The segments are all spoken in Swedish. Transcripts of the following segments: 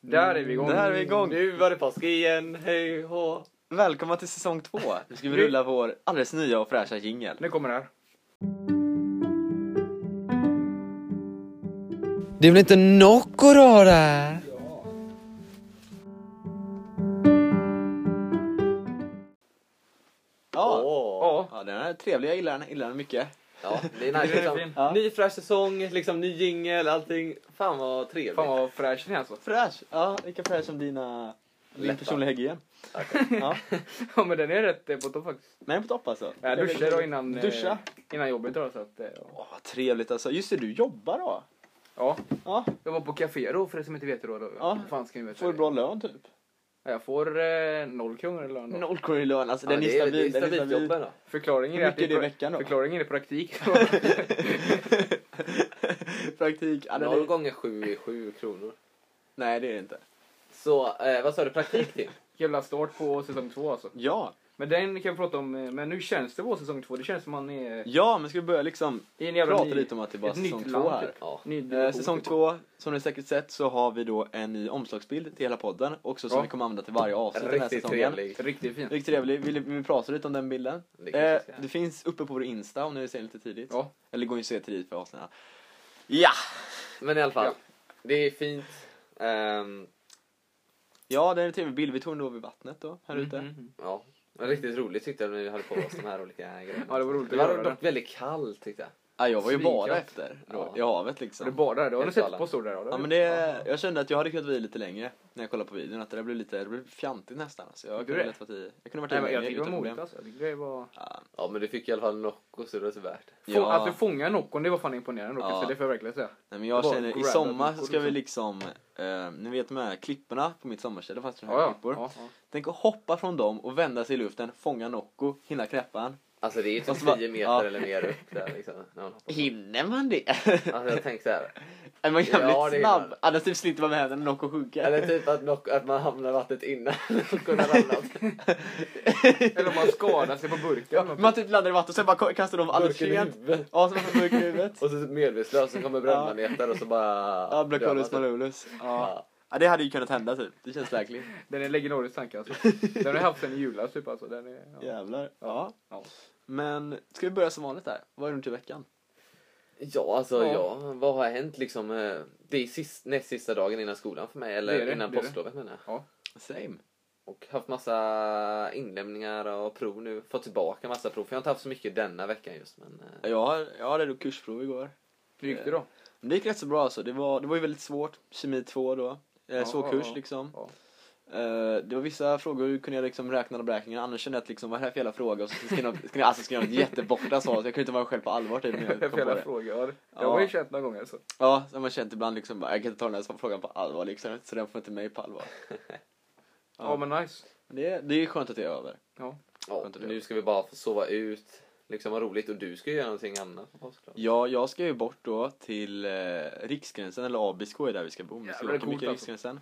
Där är vi igång. Där är vi igång. Nu var det påsk igen, hej hå. Välkomna till säsong två. Nu ska vi rulla vår alldeles nya och fräscha jingel. Nu kommer det här. Det är väl inte Nocco då där? Ja. Ja. ja, den är trevlig. Jag gillar den, gillar den mycket. Ja, det är Det är nice. Liksom. fin. Ja. Ny fräsch säsong, liksom, ny jingel, allting. Fan vad trevligt. Fan vad fräsch den är alltså. Fräsch. Ja, lika fräsch som dina... Din Läppar. personliga hygien. Ja. Ja men den är rätt eh, på topp faktiskt. Nej, på topp alltså. Jag duschade då innan, eh, Duscha? innan jobbet då så att eh, ja. Åh, vad trevligt alltså. Just det, du jobbar då. ja. Ja, Jag var på café då för er som inte vet det då. då. Ja. Hur fan ska ni veta får du det? bra lön typ. Ja, Jag får eh, noll kronor eller något. Noll kronor i lön, alltså Ja, den är det är stabil. det Den är är stabilt jobb stabil. ändå. Förklaringen Hur är att mycket är det i pra- veckan då? Förklaringen är praktik. Praktik. Ja, den Noll är... gånger sju är sju kronor. Nej, det är det inte. Så, eh, vad sa du, praktik till? Jävla start på säsong två alltså. Ja, Men den kan vi prata om. eh, Men nu känns det vår säsong två. Det känns som man är ja men ska vi börja liksom i en jävla prata ny- lite om att det bara är ett nytt säsong två land, här. typ. Ja. ny Eh, division, säsong typ. två, som ni säkert sett så har vi då en ny omslagsbild till hela podden. Också som Ja. vi kommer använda till varje avsnitt den här Riktigt säsongen. trevlig. Riktigt fint. Riktigt trevlig. Vill vi prata lite om den bilden? Det kan Det, jag säga. eh, det finns uppe på vår Insta om ni vill se den lite tidigt. Ja. Eller går ju att se tidigt för avsnitten. Ja! Men i alla fall, Ja. det är fint. Ehm, Ja, det är en trevlig bild. Vi tog den då vid vattnet då, här ute. Mhm. ja. Men Riktigt roligt tyckte jag när vi hade på oss de här olika grejerna. Ja, det var roligt Det att var göra dock det. väldigt kallt tyckte jag. Ja, jag var ju Svinkallt. bara efter då, Ja. i havet Du liksom. badade, det har du Helt sett galen. på stor där. har du? Ja, men det, jag kände att jag hade kunnat vara i lite längre när jag kollade på videon. Att det där blev lite det blev fjantigt nästan. Alltså, jag Du kunde det? lätt varit i. Jag kunde varit i Nej, men längre jag tyckte det utan var problem. modigt alltså. Jag tyckte det var... Ja, men du fick i alla fall Nocco så det var så värt det. Få, Ja. Att du fångade Noccon, det var fan imponerande. Ja. Ja. Det får jag verkligen säga. Nej, men jag Det var känner, i grand sommar att- så ska vi liksom, eh, ni vet de här klipporna på mitt sommarställe, fast sådana här Ja, ja. klippor. ja, ja. Tänk att hoppa från dem och vända sig i luften, fånga Nocco, hinna knäppa han. Alltså det är ju Och så typ bara- 10 meter ja. eller mer upp där liksom. När man hoppar. Hinner man det? Alltså jag tänkte så här. är man jävligt Ja, det hinner snabb? man. Annars typ sliter man med händerna när Nocco sjunker. Eller typ att, knock, att man hamnar i vattnet innan Nocco har ramlat. Eller om man skadar sig på burken. Ja, man typ landar i vatten och sen bara ko- kastar de alldeles Burken i sent. huvudet. Ja, så man får burken i huvudet. Och så typ medvetslös, så kommer brandmanetare och så bara... Ja, Blacolus dör man. malulus. Ja. Ja. ja, det hade ju kunnat hända typ. Det känns verkligen. Den är legendarisk tanke alltså. Den har jag haft sen i julas typ alltså. Den är, ja. Jävlar. Ja. Ja. Men, ska vi börja som vanligt där? Vad är det till veckan? Ja, alltså Ja. ja. Vad har hänt liksom? eh, Det är sist, näst sista dagen innan skolan för mig. Eller Det är det, innan det är det. påsklovet menar jag. Same. Och haft massa inlämningar och prov nu. Fått tillbaka massa prov. För jag har inte haft så mycket denna veckan just. Men, eh, Jag, har- jag hade då kursprov igår. Hur gick det Eh, då? Men det gick rätt så bra alltså. Det var, det var ju väldigt svårt. Kemi 2 då. Eh, Ja, svår ja, kurs ja. liksom. Ja. Eh, det var vissa frågor du kunde jag liksom räkna och beräkningar. Annars kände jag att liksom, vad är det här för jävla fråga? Och så skrev jag, skrev jag, alltså, skrev jag något jätteborta svar. Så jag kunde inte vara själv på allvar typ, när jag kom på Fel det. fråga. Ja. det- Ja. Jag har ju känt några gånger alltså. Ja, så har man känt ibland liksom bara, jag kan inte ta den här frågan på allvar liksom. Så den får inte mig på allvar. Ja, men nice. Men Det, det är skönt att det är över. Ja. ja, skönt att det nu är. ska vi bara få sova ut. Liksom ha roligt. Och du ska ju göra någonting annat på påsklovet. Ja, jag ska ju bort då till eh, Riksgränsen, eller ABSK är där vi ska bo. Vi ska Jävlar, det är åka mycket coolt alltså. Riksgränsen.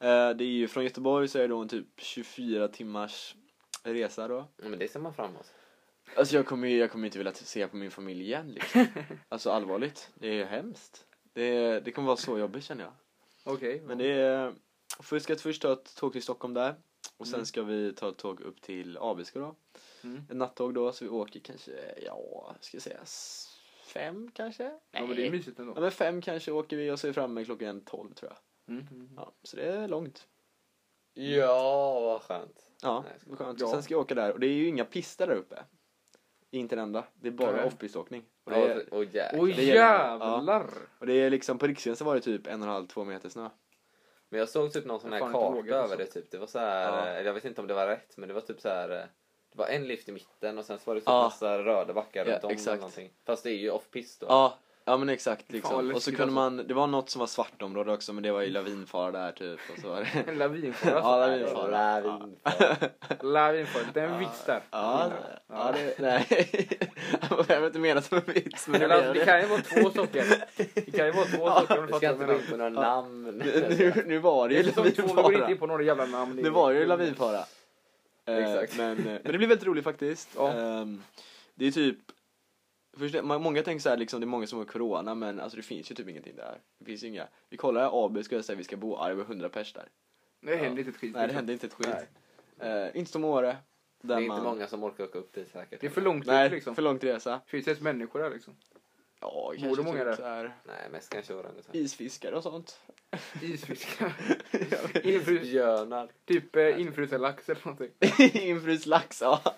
Eh, det är ju från Göteborg så är det då en typ 24 timmars resa då. Ja, Men det ser man fram emot. Alltså jag kommer, ju- jag kommer inte vilja se på min familj igen liksom. Alltså allvarligt, det är ju hemskt. Det, det kommer vara så jobbigt känner jag. Okej. Men det är, först ska jag först ta ett tåg till Stockholm där. Och sen ska vi ta ett tåg upp till ABSK då. Mm. Ett nattåg då, så vi åker kanske, ja, ska jag säga s- fem kanske? Ja, men det är mysigt ändå. Ja, men fem kanske åker vi och så är vi framme klockan 12 tror jag. Mm. Mm. Ja, så det är långt. Ja, vad skönt. Ja, Nej, vad skönt. ja. Sen ska jag åka där och det är ju inga pister där uppe. Inte en enda. Det är bara Nej. off-piståkning. Och, det Ja, är- och jäklar. Oj det gäller- jävlar! och det är liksom, på Riksgränsen var det typ en och en halv, två meter snö. Men jag såg typ någon sån Jag här fan inte karta vågar på över det typ. Det var så här, Ja. eller jag vet inte om det var rätt, men det var typ så här. eh, Det var en lift i mitten och sen så var det typ Ja. massa röda backar Ja, runt om exakt. eller någonting. Fast det är ju off-pist då. Ja, ja men exakt liksom. Fan, vad och så läskigt kunde alltså. man, det var något som var svart område också men det var ju lavinfara där typ. Och så var det... En lavinfara. Ja, alltså. Det var lavinfara. lavinfara. Lavinfara. Det är en vits där. Ja, det- ja det, nej. Jag vet inte menat som en vits men det Eller, alltså, blev det det. kan ju vara två saker. Det kan ju vara två saker om du Vi ska fattar vad inte jag gå menar. in på några namn. Nu, nu var det ju Säsong liksom två, vi går inte in lavinfara. på några jävla namn. Nu var det ju lavinfara. Eh, Exakt. Men, eh, men det blev väldigt roligt faktiskt. Ja. Ehm, Det är typ först- man- många tänker så här, liksom, det är många som har corona men alltså, det finns ju typ ingenting där. Det finns ju inga. Vi kollar AB skulle jag säga vi ska bo, ja, det var 100 pers där. Det Ja. händer inte ett skit. Nej det hände inte ett skit. Eh, inte som Åre. Det Där är inte man... många som orkar åka upp dit säkert. Det är för långt Nej, ut liksom. för långt resa. Finns det ens människor där liksom? Ja, Bor det kanske många typ där? så här, Nej, mest kanske orangutan. isfiskar och sånt. Isfiskar. Infrus, Isbjörnar. typ eh, infrusen lax eller någonting. Infryst lax, ja.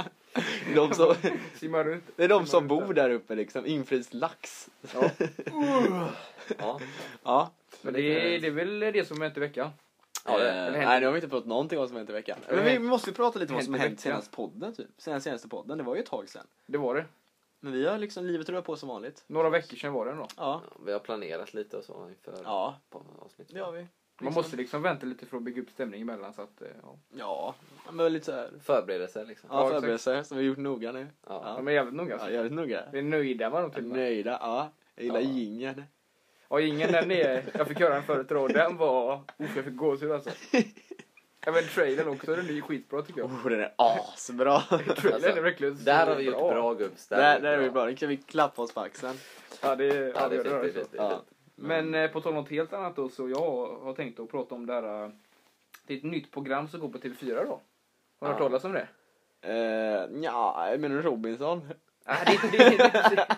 De som, Simmar runt. det är de som Simmar runt bor där uppe liksom, infryst lax. Ja. Ja. Ja. Men det är, det är väl det som hänt i veckan. Ja, det- Eh, det händer. nej, nu har vi inte pratat någonting om vad som hänt i veckan. Det Men vi, händer. vi måste ju prata lite om vad Det som händer i hänt veckan. senast podden typ. Sen senaste podden, det var ju ett tag sen. Det var det. Men vi har liksom, livet rullar på som vanligt. Några veckor sedan var det ändå. Ja. Ja, Vi har planerat lite och så inför Ja, på avsnittet. det har vi. Man måste liksom vänta lite för att bygga upp stämning emellan så att, eh, ja. Ja, men lite såhär. Förberedelser liksom. Ja, Ja, exakt. förberedelser som vi gjort noga nu. Ja. De är jävligt noga Ja, alltså. jävligt noga. Vi är nöjda med dem till och med. Nöjda, ja. Jag gillar Ja. jingeln. Ja, ingen den är... Jag fick höra den förut idag. Den var... Uff, jag fick gåshud alltså. Ja, men trailern också. Den är ju skitbra tycker jag. Oh, den är asbra! Trailern Alltså, är verkligen så Där har vi gjort bra gubbs. där, där är vi bra, nu kan vi klappa oss på axeln. Ja, det är... Ja, det är Ja, fint. Det är det är fint, Mm. det är fint. men eh, på tal om något helt annat då, så jag har tänkt att prata om det här... eh, Det är ett nytt program som går på TV4 då. Har du hört Ja. talas om det? Uh, ja, menar du Robinson? Nej, det är inte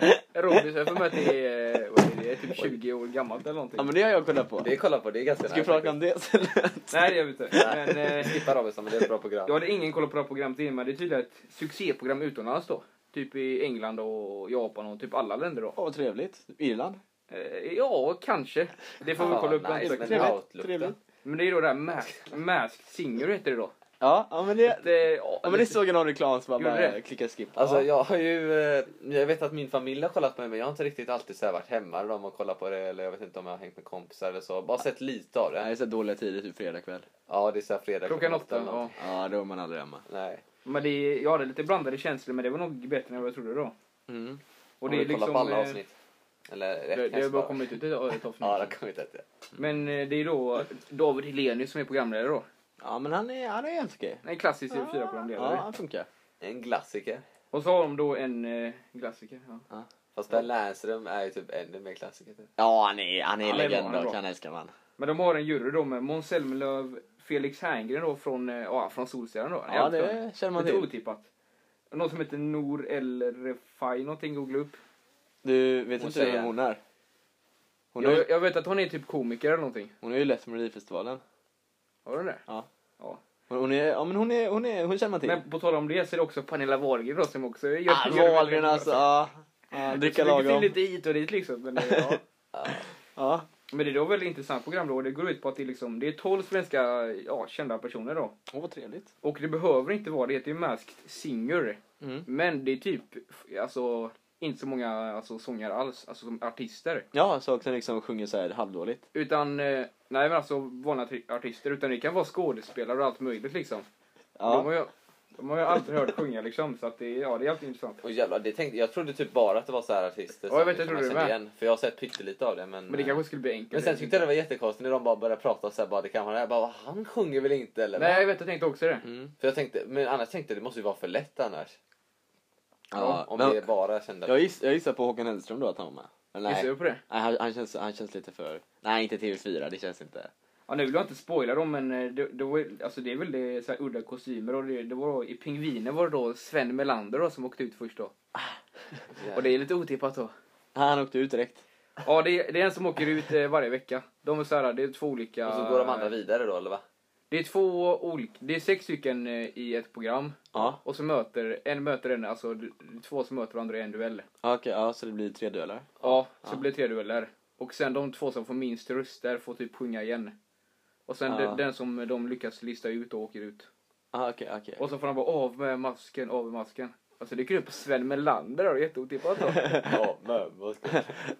det. Robinson, jag får mig att det är, vad är det, typ 20 år gammalt eller någonting. Ja men det har jag kollat på. Det kollar på, det är ganska Ska vi prata om det sen? Nej, det gör vi inte. Men, eh, Skippa Robinson, men det är ett bra program. Jag hade ingen koll på det här programmet innan, men det är tydligen ett succéprogram utomlands då. Typ i England och Japan och typ alla länder då. Åh vad trevligt. Irland? Eh, ja, kanske. Det får vi Ja, kolla upp. nice, Nice, men- men... Trevligt. outlooken. trevligt. men det är då det här Mask- Masked Singer heter det då. Ja, ja men det... Det, ja, Ja men det såg jag någon reklam som man Gjorde bara det? klickade skip. Alltså ja. jag har ju, eh, jag vet att min familj har kollat på det men jag har inte riktigt alltid så här varit hemma när de har kollat på det eller jag vet inte om jag har hängt med kompisar eller så. Bara sett lite av Nej, det. det är så här dåliga tider, typ fredag kväll. Ja det är så här fredag Klockan åtta. eller Ja. någonting. Ja, då är man aldrig hemma. Nej. Men det, jag hade lite blandade känslor, men det var nog bättre än vad jag trodde då. Mm. Och Har det är du kollat liksom... på alla eh, avsnitt. Eller ett Det, det kanske har bara bara. kommit ut ett ett avsnitt. Ja det har kommit ett. ja. Men eh, det är då David Hellenius som är programledare då. Ja men han är, han är helt okej. En klassisk Ja, TV4-programledare. han funkar. En klassiker. Och så har de då en eh, klassiker. Ja. Fast Per Lernström är ju typ ännu mer klassiker. typ. Ja, han är, han är Ja, det är bra, legend han är och bra. han älskar man. Men de har en jury då med Måns Zelmerlöw, Felix Herngren då från, eh, ja, från Solsidan då. Ja, det känner man Lite till. otippat. Och Någon som heter Nour El Refai någonting, googla upp. Du vet Hon inte säger- vem hon är? Hon är, Jag, jag vet att hon är typ komiker eller någonting. hon är ju lätt med Melodifestivalen. Har hon det? Ja. Ja. Hon, hon är, ja men hon är, hon är, hon känner man till. Men på tal om det så är det också Pernilla Wahlgren då som också gör... ah, gör- Wahlgren alltså, ja. Ja, dricka Så det finns lagom. lite hit och dit liksom. Men, eh, ja. Ja. men det är då väldigt intressant program då. och Det går ut på att det, är liksom, det är 12 svenska ja, kända personer då. Åh vad trevligt. Och det behöver inte vara det. Det heter ju Masked Singer. Mm. Men det är typ, alltså, inte så många alltså, sångare alls, alltså som artister. Ja, så också liksom sjunger så här halvdåligt. Utan, eh, nej men alltså vanliga tri- artister, utan det kan vara skådespelare och allt möjligt liksom. De, har Ja. jag, de har jag aldrig hört sjunga liksom, så att det, ja, det är alltid intressant. Och jävlar, det tänkte, jag trodde typ bara att det var så här artister Ja, jag vet, som jag trodde man det kände med. igen. För jag har sett pyttelite av det men. Men det kanske skulle bli enkelt. Men sen tyckte jag det var jättekonstigt när de bara började prata så här bara det kan vara det här. Bara, han sjunger väl inte eller? Nej, jag vet, jag tänkte också det. Mm. För jag tänkte, men annars tänkte jag, det måste ju vara för lätt annars. Ja, om men- det är bara kända. Jag, giss, jag gissar på Håkan Hellström då att han var med. Men Gissar nej, du på det? nej han, han, känns, han känns lite för... Nej, inte TV4, det känns inte. Ja, nu vill jag inte spoila dem, men eh, det, det, var, alltså, det är väl det, så här, udda kostymer. Och det, det var då, I Pingvinen var det då Sven Melander då, som åkte ut först då. Ja. Och det är lite otippat då. Han åkte ut direkt. Ja, det, är- det är en som åker ut eh, varje vecka. De är så här, det är två olika... Och så går de andra vidare då eller va? Det är två olika, det är sex stycken eh, i ett program. Ja. Och så möter, en möter en, alltså d- två som möter varandra i en duell. Ja, Okej, ja, så det blir tre dueller. Ja, så blir det tre dueller. Och sen de två som får minst röster får typ sjunga igen. Och sen Ja. den, den som de lyckas lista ut och åker ut. Ah, okej, okej. Och så får de bara av med masken, av med masken. Alltså det kryper Sven Melander där, jätteotippat. då. Ja, men vad ska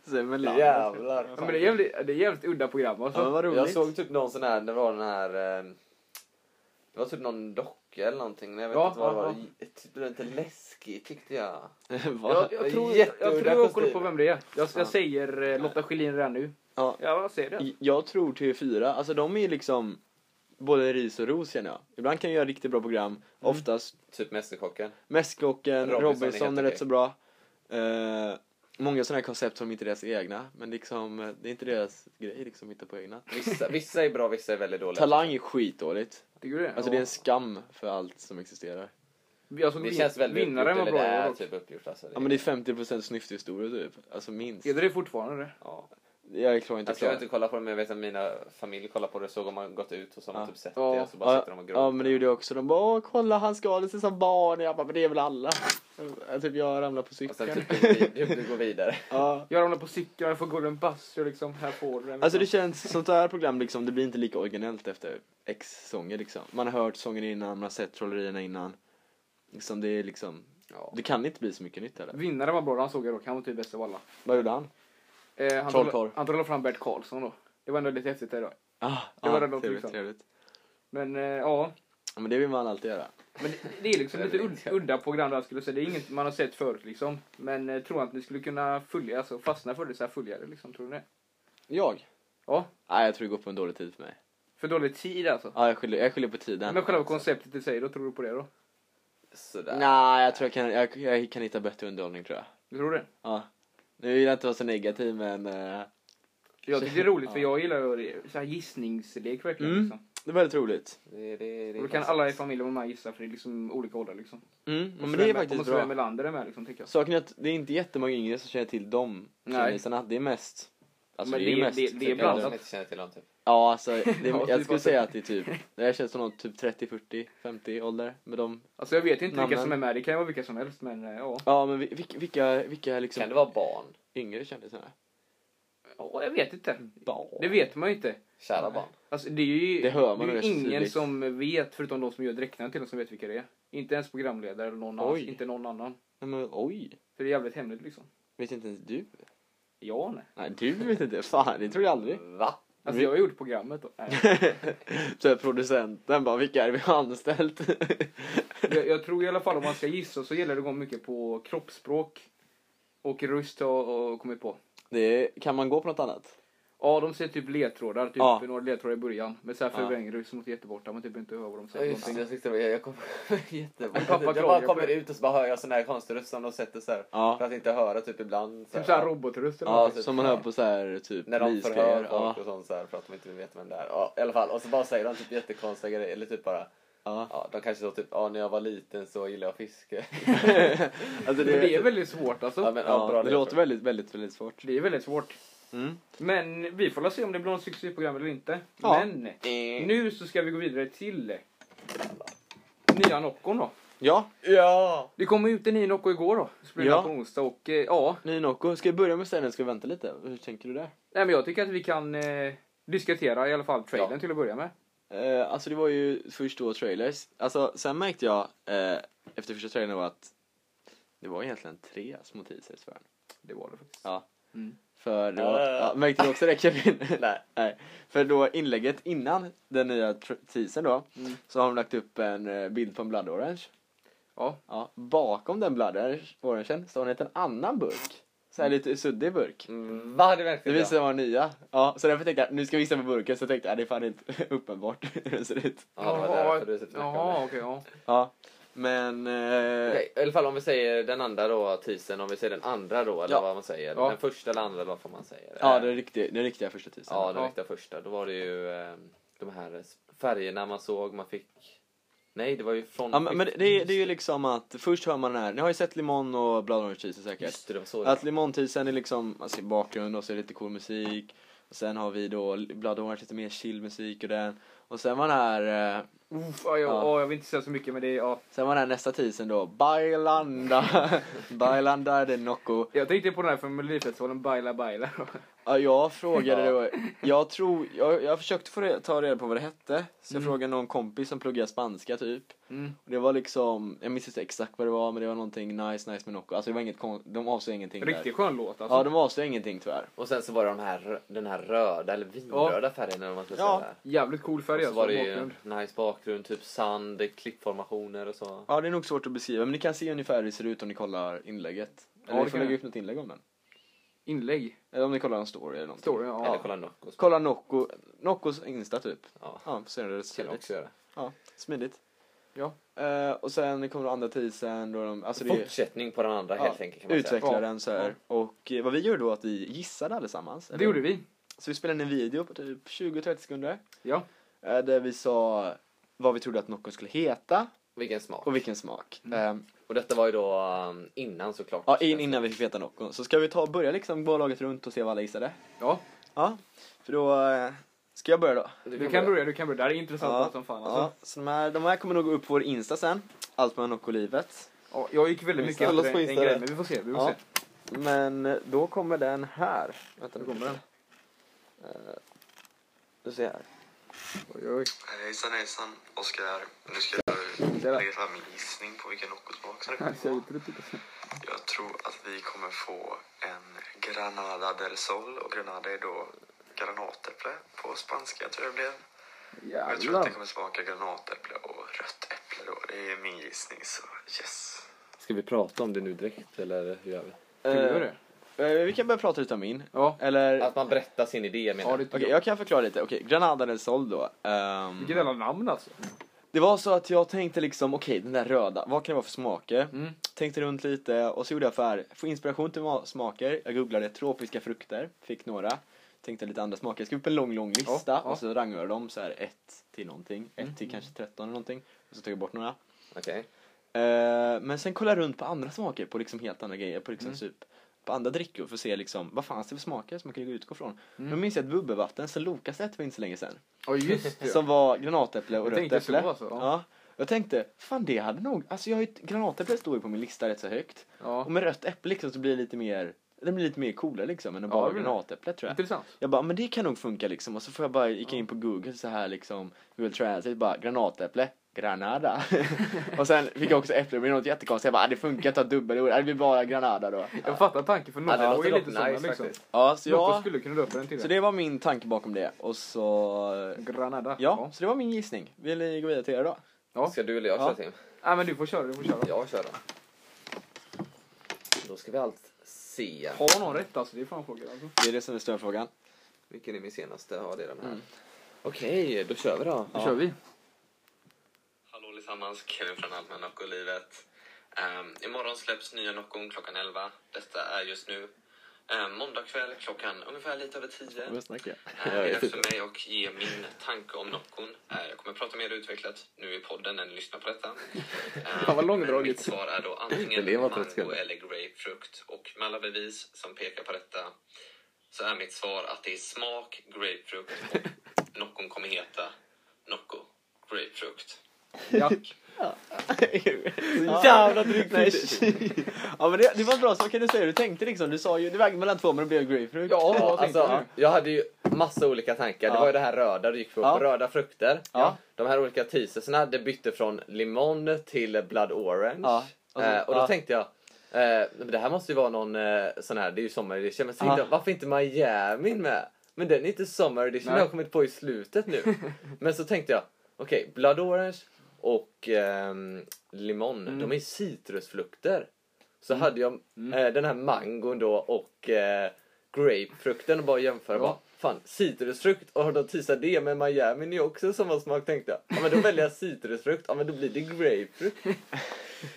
Sen med landet. Jävlar. Ja, men det är jävligt, det är jävligt udda program Ja, men alltså. vad roligt. Jag såg typ någon sån här, det var den här... eh, Det var typ någon docka eller någonting. Jag vet Ja, inte vad det ja, var. ja. Det typ blev lite läskig tyckte jag. Va? Jag, Det är jag, tror, jag jätteudda tror jag har koll på kostymer. vem det är. Jag, jag Ja. säger eh, Lotta Schelin redan nu. Ja. jag säger det. Jag tror TV4, alltså de är liksom både ris och ros känner jag. Ibland kan jag göra riktigt bra program, oftast Typ Mästerkocken. Mästerkocken, Robinson Mm. Robinson, är är helt rätt okej. så bra. Eh, många sådana här koncept som inte är deras egna, men liksom, eh, det är inte deras grej liksom, att hitta på egna. Vissa, vissa är bra, vissa är väldigt dåliga. Talang är skitdåligt. Tycker du det? Alltså det är en skam för allt som existerar. Jag såg Det Alltså, vin- känns väldigt uppgjort, vinnaren var eller bra. det är dock. typ uppgjort alltså. Det, Ja men det är 50% snyfthistorier typ, alltså minst. Är det det fortfarande? det? ja. Jag klarar inte Alltså, klar. jag har inte kollat på det men jag vet att mina familj kollar på det såg om man gått ut och så har man Ja. typ sett Ja. det och så bara Ja, sitter de och gråter. ja men det gjorde jag också, de bara åh kolla han skadade sig som barn, jag bara men det är väl alla. Jag, typ jag ramlade på Och sen cykeln. typ du går vid- du går vidare. Ja. Jag ramlar på cykeln, jag får golden buzzer liksom. Här får du den. Alltså det känns, sånt här program liksom, det blir inte lika originellt efter x sånger liksom. Man har hört sången innan, man har sett trollerierna innan. Liksom det är liksom, Ja. det kan inte bli så mycket nytt heller. Vinnaren var bra, han såg jag dock. Han var typ bäst av alla. Vad gjorde han? Eh, han, Trollkarl. trollade, han trollade fram Bert Karlsson då. Det var ändå lite häftigt där då. Ah, Det var det de trevligt, tyckte. trevligt. Men eh, ja, Ja, men det vill man alltid göra. men det, det är liksom lite ud- udda program där jag skulle säga. Det är inget man har sett förut liksom. Men eh, tror att ni skulle kunna följa, alltså fastna för det så här följa det liksom? Tror ni det? Jag? Ja. Nej, jag tror det går på en dålig tid för mig. För dålig tid alltså. Ja, jag skyller, jag skyller på tiden. Men själva konceptet i sig, då tror du på det då? Sådär. Nej, jag tror jag kan, jag, jag kan hitta bättre underhållning tror jag. Du tror det? Ja. Nu vill jag inte vara så negativ men... eh, Jag tycker det är roligt för jag gillar ju så här gissningslek verkligen. Mm. Liksom. det är väldigt roligt. Det, det, det, Och då kan alla i familjen vara med och gissa för det är liksom olika åldrar liksom. Mm, Och men så det är vem- faktiskt Och så bra. vem Melander är med liksom tycker jag. Saken är att det är inte jättemånga yngre som känner till dem Nej. kändisarna. Det är mest... Alltså Men det, är ju det- mest... det- det är Det är de som blandat. inte känner till dem typ. Ja, alltså det, Ja, jag typ skulle alltså. säga att det är typ... Jag känner som någon typ 30, 40, 50 ålder med dem. Alltså jag vet inte vilka Namnen. som är med, det kan ju vara vilka som helst men eh, ja. Ja, men vi- vilka, vilka, vilka är liksom Kan det vara barn? yngre kändisarna? ja. Jag vet inte. Det Barn? vet man ju inte. Kära barn. Alltså det är ju, Det hör man det är rätt ju ingen tydligt. som vet förutom de som gör dräkterna till dem som vet vilka det är. Inte ens programledare eller någon annan. Oj. Inte någon annan. Nej, men oj! För det är jävligt hemligt liksom. Vet inte ens du? Ja nej. Nej, du vet inte. Fan, det tror jag aldrig. Va? Alltså Vi- jag har gjort programmet då. Nej. Så här, Typ producenten bara, vilka är det vi har anställt? jag, jag tror i alla fall om man ska gissa så gäller det att gå mycket på kroppsspråk. Och röst har jag kommit på. det är, kan man gå på något annat? Ja, de ser typ ledtrådar. Typ Ja. några ledtrådar i början. Men så här Ja. förvränger du som mot jätteborta. Man typ inte hör vad de Ja, säger. just det, någonting. jag tyckte det var jag kom jättebra. Men pappa Jag bara klagar på kommer det. ut och så bara hör jag sån här konstig röst som de sätter så här. Ja. För att inte höra typ ibland. Typ såhär robotröst eller Ja, något. typ. som man hör på så här typ När de förhör mysgrejer. folk Ja, och sånt så här för att de inte vet vem det är. Ja, i alla fall. Och så bara säger de typ jättekonstiga grejer. Eller typ bara. ja. Ja, de kanske så typ. Ja, när jag var liten så gillade jag fiske. Alltså Men det, Det är väldigt svårt alltså. Ja, men, ja, ja, det bra ledtråd. låter väldigt, väldigt, väldigt svårt. Det är väldigt svårt. Mm. Men vi får väl se om det blir någon succé i programmet eller inte. Ja. Men nu så ska vi gå vidare till nya Noccon då. Ja, Ja! Det kom ut en ny Nocco igår då. Spelade Ja. på onsdag och eh, ja. ny Nocco. Ska vi börja med ställningen? Ska vi vänta lite? Hur tänker du där? Nej men jag tycker att vi kan eh, diskutera i alla fall trailern Ja. till att börja med. Eh, alltså det var ju först då trailers. Alltså sen märkte jag eh, efter första trailern var att det var egentligen tre små teasers för den. Det var det faktiskt. Ja. Mm. För då, Eh. ja, märkte du också det Kevin? Nej. Nej. För då inlägget innan den nya tr- teasern då, Mm. så har de lagt upp en eh, bild på en Blood Orange. Ja. Ja, bakom den Blood Orange- Orangen så har den en annan burk. Så här lite suddig burk. Mm, Vad hade Det verkligen visade sig vara nya. Ja, så därför tänkte jag, nu ska jag visa på burken, så tänkte jag, det är fan inte uppenbart hur den ser ut. Ja, det var därför du typ snackade om Jaha, det. okej. ja. Ja, men... Eh, Okej, I alla fall om vi säger den andra då, tisen, om vi säger den andra då, eller Ja. vad man säger. Ja. Den första eller andra, vad får man säga? Ja, Eh, den riktiga, den riktiga första teasern. ja, den Ja. riktiga första. Då var det ju eh, de här färgerna man såg, man fick... Nej, det var ju från... Ja, men, men det, det är- det är ju liksom att först hör man den här, ni har ju sett Limon och Blood Orange Teaser säkert. Just det, det var så. Att Limon-teasern är liksom alltså, i bakgrund och så är det lite cool musik. Och sen har vi då Blood Orange lite mer chill musik och den. Och sen var den här, eh, Uff, ja, jag, Ja. ja. jag vill inte säga så mycket men det är... Ja. sen var den här nästa teasern då, Bailanda. Bailanda de Nocco. Jag tänkte på den här från Melodifestivalen, Baila Baila. Mm. Ja, jag frågade Ja. då, jag tror, jag, jag försökte få re, ta reda på vad det hette. Så jag frågade någon kompis som pluggar spanska typ. Mm. Och det var liksom, jag minns inte exakt vad det var men det var någonting nice, nice med Nocco. Alltså det var inget kon- de avslöjade ingenting Riktigt där. skön låt alltså. Ja, de avslöjade ingenting tyvärr. Och sen så var det de här, den här röda, eller vinröda färgen, eller vad man ska Ja. säga. Jävligt cool färg Och så alltså. var det ju bakgrund. nice bakgrund, typ sand, klippformationer och så. Ja, det är nog svårt att beskriva men ni kan se ungefär hur det ser ut om ni kollar inlägget. Eller det vi får kan lägga jag. upp något inlägg om den. Inlägg. Eller om ni kollar en story eller någonting. Storyn, Eller ja. kolla Noccos. Kolla Nocco, Noccos Insta typ. Ja, Ja, så är det kan jag smidigt. också göra. Ja, smidigt. Ja. Eh, och sen kommer andra tisen, då är de, alltså det är, Fortsättning på den andra Ja, helt enkelt kan man säga. utvecklar den så här. Och eh, vad vi gjorde då att vi gissade allesammans. Det gjorde vi. Så vi spelade in en video på typ 20-30 sekunder. Ja. eh, Där vi sa vad vi trodde att Nocco skulle heta Vilken smak. och vilken smak. Eh, Och detta var ju då um, innan såklart. Ja, in, innan vi fick veta Nocco. Så ska vi ta börja liksom gå laget runt och se vad alla gissade. ja. Ja, för då... eh, Ska jag börja då? Du kan börja, du kan börja. Det här är intressant Ja, som fan ja, alltså. så de här, de här kommer nog gå upp på vår Insta sen. Allt med Nocco-livet. ja. Jag gick väldigt mycket Alla efter en, en skissar grej, det. men vi får se. Vi får Ja. se. Men då kommer den här. Vänta Nu nu. Eh, kommer den. Du ser här. Oj, oj. Hejsan hejsan, Oskar här. Nu ska jag lägga fram min gissning på vilken Nocco-smak som det Här ser kommer jag vara. ut lite. Jag tror att vi kommer få en Granada del Sol och Granada är då granatäpple på spanska tror jag det blev. Och jag tror att Jävlar. det kommer smaka granatäpple och rött äpple då. Det är min gissning så yes. Ska vi prata om det nu direkt eller hur gör vi? Ska vi göra det? Eh, vi kan börja prata lite om min. Ja. Eller... Att man berättar sin idé jag menar Ja, jag. det Okej, tycker jag. jag kan förklara lite. Okej, Granada del Sol då. Ehm, Vilket jävla namn alltså. det var så att jag tänkte liksom, okej den där röda, vad kan det vara för smaker? Mm. Tänkte runt lite och så gjorde jag för här, få inspiration till ma- smaker. Jag googlade tropiska frukter, fick några. Tänkte lite andra smaker. Jag skrev upp en lång, lång lista Ja, Mm. ja. och så rangordnade jag dem så här ett till någonting, ett till kanske 13 eller någonting. Och så tog jag bort några. Okej. Eh, men sen kolla runt på andra smaker, på liksom helt andra grejer, på liksom Mm. typ på andra drickor för att se liksom vad fanns det för smaker som man kunde utgå från. Mm. Då minns jag ett bubbelvatten sen Lokaset för inte så länge sen. Ja, just det. Som var granatäpple och Jag rött tänkte så, äpple. alltså, ja. ja. Jag tänkte, fan det hade nog, alltså jag har ju, ett- granatäpple står ju på min lista rätt så högt. Ja. Och med rött äpple liksom så blir det lite mer, det blir lite mer coolare liksom än att Ja, bara det ja, blir det. granatäpple tror jag. Intressant. Jag bara, men det kan nog funka liksom. Och så får jag bara, gick jag in på Google så här liksom, Google Translate, bara granatäpple, Granada. och sen fick jag också äpple, det blev något jättekonstigt. Jag bara, ah, det funkar att ta dubbelord, Ah, det blir bara Granada då. Jag fattar tanken för Ja, Nocco det är låter dock lite nice sådana liksom. faktiskt. Ja, så Nocco jag, skulle kunna döpa den till så det. det var min tanke bakom det. Och så, Granada. ja, så det var min gissning. Vill ni gå vidare till er då? Ja. Ska du eller jag Ja. köra Tim? Ja, men du får köra, du får köra. Jag kör då. Då ska vi allt se. Har någon rätt alltså? Det är fan frågan alltså. Det är det som är stödfrågan. Vilken är min senaste? Ja, det är den här. Mm. Okej, då kör vi då. Då kör vi. Hallå allesammans, Kevin från Allmän Nocco-livet. Um, imorgon släpps nya Noccon klockan 11. Detta är just nu. Um, måndag kväll klockan ungefär lite över 10. Vad snackar Eh, Det är dags för mig att ge min tanke om Noccon. Eh, Jag kommer prata mer utvecklat nu i podden när ni lyssnar på detta. Eh, Fan, vad långdraget. men Mitt svar är då antingen Det var mango trettio sekunder. eller grapefrukt. Och med alla bevis som pekar på detta så är mitt svar att det är smak grapefrukt och Noccon kommer heta Nocco grapefrukt. Ja. jag? jävla drygt! ja men det, det var bra, så kan du säga du tänkte liksom, du sa ju, du vägde mellan två men det blev grapefruit. Ja, vad tänkte alltså, jag hade ju massa olika tankar. Det Ja. var ju det här röda du gick för, Ja. röda frukter. Ja. De här olika teasersna, det bytte från limon till blood orange. Alltså, Ja. Och så- eh, och då ja. tänkte jag, eh, men det här måste ju vara någon eh, sån här, det är ju summer edition. Men så tänkte Ja. jag, varför inte Miami med? Men den är inte summer edition, den har jag kommit på i slutet nu. men så tänkte jag, okej, blood orange och ehm, limon, de är ju citrusfrukter. Så hade jag eh, den här mangon då och eh, grapefrukten och bara jämföra. Bara, fan, citrusfrukt och har de teasat det med Miami nu också som var smak tänkte jag. Ja men då väljer jag citrusfrukt, ja men då blir det grapefrukt.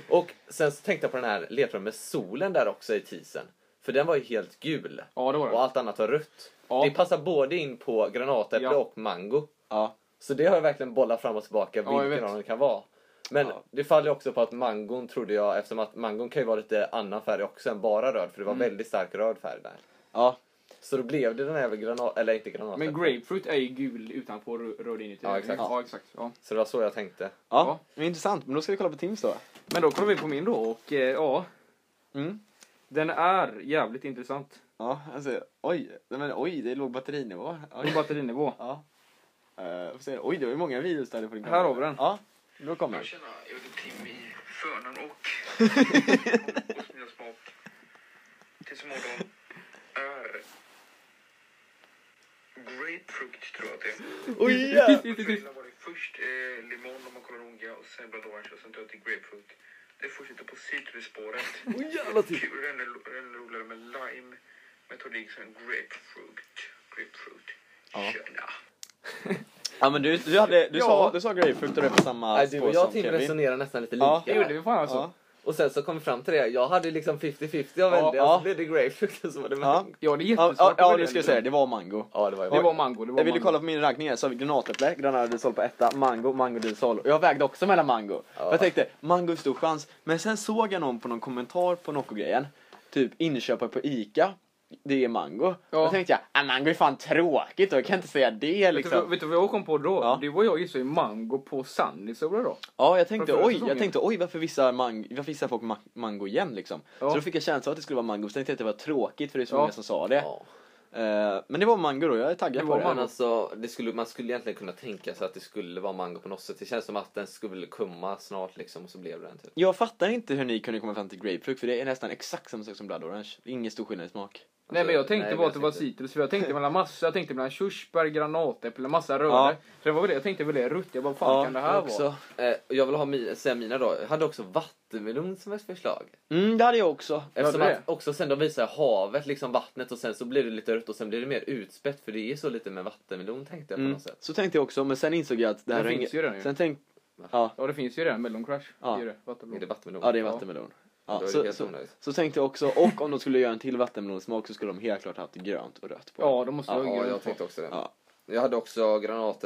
och sen så tänkte jag på den här ledtråden med solen där också i teasern. För den var ju helt gul. Ja, det var Och det. allt annat var rött. Ja. Det passar både in på granatäpple Ja. och mango. Ja. Så det har jag verkligen bollat fram och tillbaka Ja, jag vilken vet. av dem det kan vara. Men Ja. det faller ju också på att mangon trodde jag, eftersom att mangon kan ju vara lite annan färg också än bara röd, för det var väldigt stark röd färg där. ja. Så då blev det den här jävla granat, eller inte granaten. Men grapefruit är ju gul utanpå och rö- röd inuti. Ja, exakt. Ja, exakt. Ja. Så det var så jag tänkte. Ja, men intressant. Men då ska vi kolla på Tims då. Men då kollar vi på min då och eh, ja, Mm. den är jävligt intressant. Ja, alltså oj. Nej, Men oj, det är låg batterinivå. På Oj. batterinivå. Ja. Uh, får se. Oj, det var ju många videos där på din Här har vi den. Ja, då kommer den. Tjena, jag heter Tim i förnamn och hos mina smak. Tills imorgon är grapefrukt tror jag att det är. Oj, typ. Vanilla var det först, eh, limon om man kollar noga och sen blood orange och sen dök till grapefruit. Det fortsätter på citrusspåret. Kul, den är- den är roligare med lime, liksom metodik som grapefruit. Grapefruit. Ja. Tjena. Ja men du, du, hade, du, Ja. sa, du sa grapefrukt och det på samma Nej, du och spår jag som Tim Kevin. resonerar nästan lite lika. Ja. Det gjorde vi fan alltså. Ja. Och sen så kom vi fram till det. Jag hade liksom 50-50 jag vände Ja. och så blev det grapefrukt och så var det Ja. mango. Ja, det är Ja, jättesvårt. ja, att ja, välja, det ska eller jag säga, hur? det var mango. Ja, det var ju Det var mango. Det var Jag ville mango. kolla på min rankning här, så har vi granatäpple, granadisol på etta, mango, mango disol. Och jag vägde också mellan mango. Ja. Jag tänkte, mango är stor chans. Men sen såg jag någon på någon kommentar på Nocco-grejen. Typ inköpare på Ica, det är mango. Ja. Då tänkte jag, ah, mango är fan tråkigt och jag kan inte säga det Vet, du, vad- liksom. vet du vad jag kom på då? Ja. Du och jag gissade ju mango på Sunny så bra då. Alltså, Ja, jag tänkte Från förra oj, säsongen. jag tänkte oj varför vissar, mang- varför vissar folk ma- mango igen liksom. Ja. Så då fick jag känslan att det skulle vara mango, så tänkte jag att det var tråkigt för det är så Ja. många som sa det. Ja. Eh, men det var mango då, jag är taggad Det på var det. Men mango. alltså, det skulle, man skulle egentligen kunna tänka sig att det skulle vara mango på något sätt. Det känns som att den skulle komma snart liksom och så blev det den typ. Jag fattar inte hur ni kunde komma fram till grapefrukt för det är nästan exakt samma sak som blood orange. Det är ingen stor skillnad i smak. Nej men jag tänkte Alltså, nej, bara jag att det var tänkte- citrus för jag tänkte mellan massa, jag tänkte mellan körsbär, granatäpple, massa rödor. Ja. Så det var väl det, jag tänkte väl det rutt. Jag bara fan kan det här jag vara? också. Eh, och jag vill ha mi- säga mina då. Jag hade också vattenmelon som ett förslag. Mm, det hade jag också. Eftersom Hade du att också sen de visar havet, liksom vattnet och sen så blir det lite rött och sen blir det mer utspätt för det är så lite med vattenmelon tänkte jag på Mm. något sätt. Så tänkte jag också, men sen insåg jag att det här Den är finns inget- ju redan ju. Sen tänk... Va? Ja, Ja det finns ju det, Melon Crush. Ja. Det är ju det, vattenblå. Är det vattenmelon? ja, det är Ja. vattenmelon. Då är Ja, det så, helt så, onödigt. så tänkte jag också, och om de skulle göra en till vattenmelonsmak så skulle de helt klart haft grönt och rött på den. Ja, de måste Ja, ha Ja, grönt jag på. tänkte också det. Ja. Jag hade också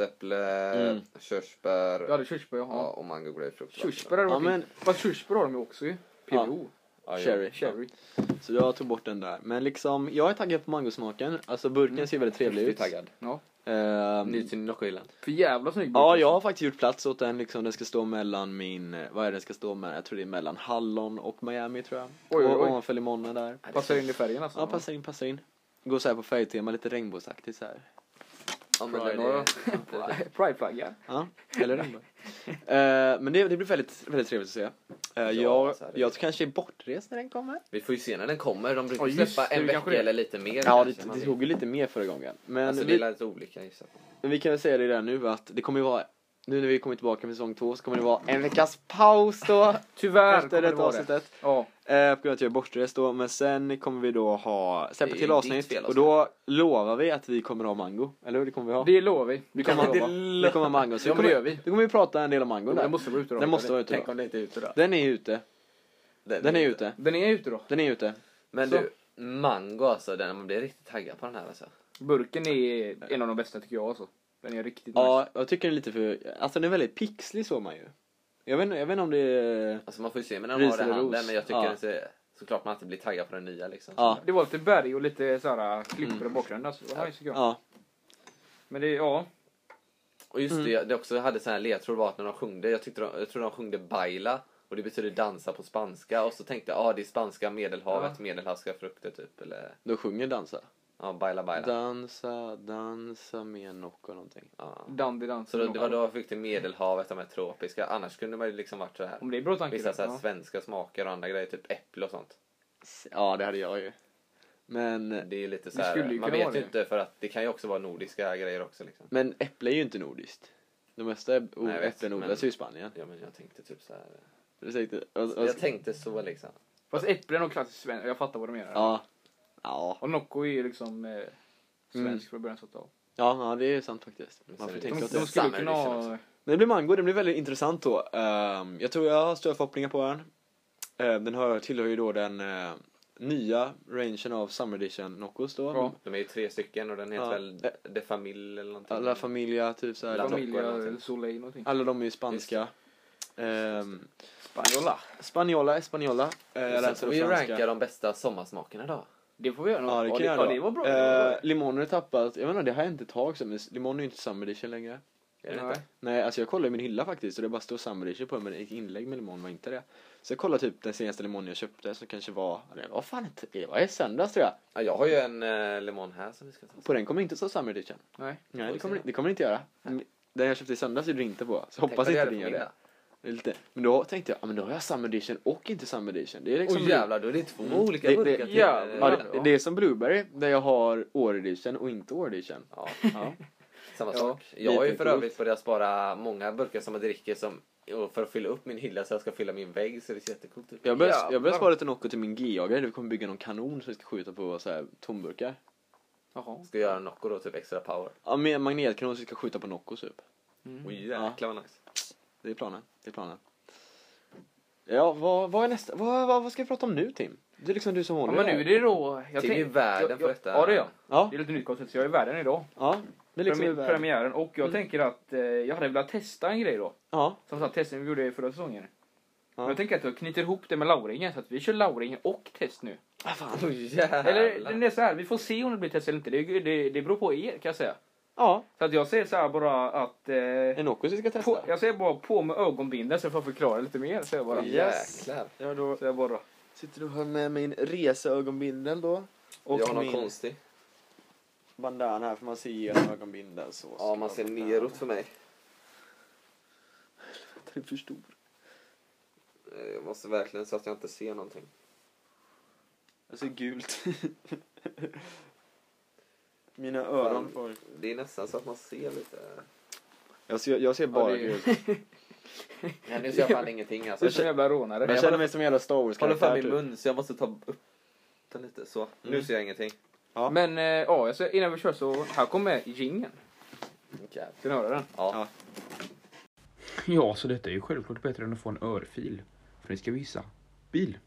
granatäpple, Mm. körsbär Jag hade körsbär, ja, jaha. och mango grapefrukt. Körsbär hade Ja, varit men- fint. Fast körsbär har de ju också ju. PVO. Ja, ja. Cherry. Cherry. Så jag tog bort den där. Men liksom, jag är taggad på mangosmaken. Alltså burken Mm. ser väldigt trevlig Riktigt ut. taggad. Ja. Ehm, Ny till Noccoilland. För jävla snygg ja, burk. jag har faktiskt gjort plats åt den liksom. Den ska stå mellan min, eh, vad är det den ska stå mellan? Jag tror det är mellan Hallon och Miami tror jag. Oj, oj, Och oj. ovanför limonen där. Passar in i färgen alltså. Ja, passar in, passar in. Går så här på färgtema, lite regnbågsaktigt så här. Ja, men den Pride- är... Prideflagga. Ja, eller regnbåg. Eh, men det, det blir väldigt, väldigt trevligt att se. Eh, jag, så här är det. jag kanske är bortrest när den kommer. Vi får ju se när den kommer. De brukar Ja, just släppa det, en det vecka kanske det är. eller lite mer. Ja, kanske, det, man det vet. tog ju lite mer förra gången. Men Alltså det vi- är lite olika gissar jag på. Men vi kan väl säga det redan nu att det kommer ju vara, nu när vi kommer tillbaka med säsong två så kommer det vara en veckas paus då. Tyvärr efter kommer det detta vara det. avsnittet. Ja. Eh, på grund av att jag är bortrest då. Men sen kommer vi då ha, släppa Det är till ju avsnitt. ditt fel, och då lovar vi att vi kommer ha mango. Eller hur? Det kommer vi ha. alltså. Det lovar vi. Vi vi kommer kan ha, lova. vi kommer ha mango. Så Ja, vi men kommer, det gör vi. Då kommer vi prata en del om mango där. Den måste vara ute då. Den måste vara ute Tänk då. om den inte är ute då. Den är ute. Den är ute. Den är ute då. Den är ute. Men Så. du, mango alltså. Den, man blir riktigt taggad på den här alltså. Burken är en av de bästa tycker jag alltså. Den är riktigt nice. Ja, jag tycker den är lite för, alltså den är väldigt pixlig såg man ju. Jag vet, inte- jag vet inte om det är... Alltså man får ju se men den Ris har det i eller handen. ros? Men jag tycker Ja. den ser... Såklart man alltid blir taggad på den nya liksom. Ja. Det var lite berg och lite äh, såhär klippor i bakgrunden. Alltså, det var nice tycker jag. Mm. Ja. Men det, ja. Och just Mm. det, jag- det också hade sån här ledtråd var att när de sjungde, jag, tyckte de, jag tror de sjungde baila. Och det betyder dansa på spanska. Och så tänkte jag, ah, det är spanska, medelhavet, medelhavska frukter typ. Eller, Då sjunger dansa. ja, baila baila. Dansa, dansa med Nocco någonting. Ja. Dandy dans. Så Mm. det, det var då jag fick till medelhavet, de här tropiska. Annars kunde man ju liksom varit så här. Om det är bra tanke. Vissa så här ja. svenska smaker och andra grejer, typ äpple och sånt. Ja, det hade jag ju. Men, Det är ju lite så Det skulle här, ju man kunna vet vara ju det. inte för att det kan ju också vara nordiska grejer också liksom. men äpple är ju inte nordiskt. De mesta äpp- Nej, jag vet, äpplen men- odlas ju i Spanien. Ja men jag tänkte typ så här. Du tänkte, vad, vad, Jag tänkte så liksom. Fast äpplen är nog klassiskt svenskt. Jag fattar vad du menar. ja. Ja. Och Nocco är ju liksom eh, svensk Mm. från början så att ja. ja, ja, det är sant faktiskt. Man sen får De, är tänka de åt det. skulle Summer kunna edition ha... Men det blir mango, det blir väldigt intressant då. Ehm, jag tror jag har stora förhoppningar på den. Ehm, den hör, tillhör ju då den eh, nya rangen av Summer Edition Noccos då. Ja. De är ju tre stycken och den heter Ja. väl De Familj eller någonting. Alla familja, typ så La här. De, Familia. eller Familja någonting. Soleil någonting. alla de är ju spanska. Ehm, Spanjola. Spanjola, Espanjola. Eh, jag Sen läser får då vi franska. ranka de bästa sommarsmakerna då. Det får vi göra nog. Ja det kan jag ja, då. det var bra. Eh, limoner är tappat, jag menar det har hänt ett tag sedan men limon är ju inte summer edition längre. Är det Nej. inte? Nej alltså jag kollade i min hylla faktiskt och det bara stod summer edition på den men ett inlägg med limon var inte det. Så jag kollade typ den senaste limonen jag köpte som kanske var, det var fan inte, det var i söndags tror jag. Ja, jag har ju en eh, limon här som vi ska ta. På den kommer inte stå summer edition. Nej. Nej det kommer, det kommer det inte göra. Mm, Den jag köpte i söndags gjorde det inte på. Så hoppas Tänk inte vad det den är gör för det. middag. Det är Lite. Men då tänkte jag, ja men då har jag summer edition och inte summer edition. Det är liksom Åh jävlar, då är det två olika Det- det- burkar till. jävlar. Ja, Ja, det, det är som Blueberry där jag har år edition och inte år edition. Ja. Samma Ja, sak. Jag har ju lite för coolt. övrigt börjat spara många burkar som jag dricker som, och för att fylla upp min hylla så jag ska fylla min vägg så det ser jättecoolt ut. Jag börjar, Jävlar. jag börjar spara lite Nocco till min G-jagare. Vi kommer bygga någon kanon som vi ska skjuta på så här tomburkar. Jaha. Ska göra Nocco då, typ extra power. Ja, med en magnetkanon som ska skjuta på Nocco typ. Mm. Oj jäklar vad nice. Det är planen. Det är planen. Ja, vad, vad är nästa? Vad, vad, vad ska vi prata om nu Tim? Det är liksom du som Ja, håller men nu är det då... Jag Till tänk- i världen jag- för detta. Ja, det är jag. Ja, Det är lite nytt koncept, så jag är i världen idag. ja. Det är liksom Premi- i världen. premiären. Och Mm. jag tänker att eh, jag hade velat testa en grej då. Ja, Som sagt, testen vi gjorde i förra säsongen. Ja. Men jag tänker att jag knyter ihop det med Lauringen, så att vi kör Lauringen och test nu. Ah, Oj jävlar. Eller det är så här, vi får se om det blir test eller inte. Det, det, det beror på er kan jag säga. ja. Så att jag säger så här bara att... Eh, En Nocco vi ska på, testa. jag säger bara på med ögonbindeln så får jag förklara lite mer. Säger jag bara. Oj, Jäklar. Ja, då Så jag bara. sitter du här med min reseögonbindel då. Och Jag har någon min konstig. bandana här för man ser genom ögonbindeln så. Ja, man ser neråt för mig. Den är för stor. Eh, Jag måste verkligen så att jag inte ser någonting. Jag ser Alltså, gult. Mina öron Fan. får... Det är nästan så att man ser lite. Jag ser, jag ser bara Ja, det är- gult. Nej, nu ser jag fan ingenting alltså. Usch, en jävla rånare. Jag känner mig som en jävla Star Wars Håller fram karaktär min typ. Mm. mun så jag måste ta upp den lite så. Nu ser jag ingenting. Ja. Men eh, ja, jag säger, innan vi kör så här kommer jingeln. Ska ni höra den? Ja. Ja, så detta är ju självklart bättre än att få en örfil. För ni ska visa. Bil.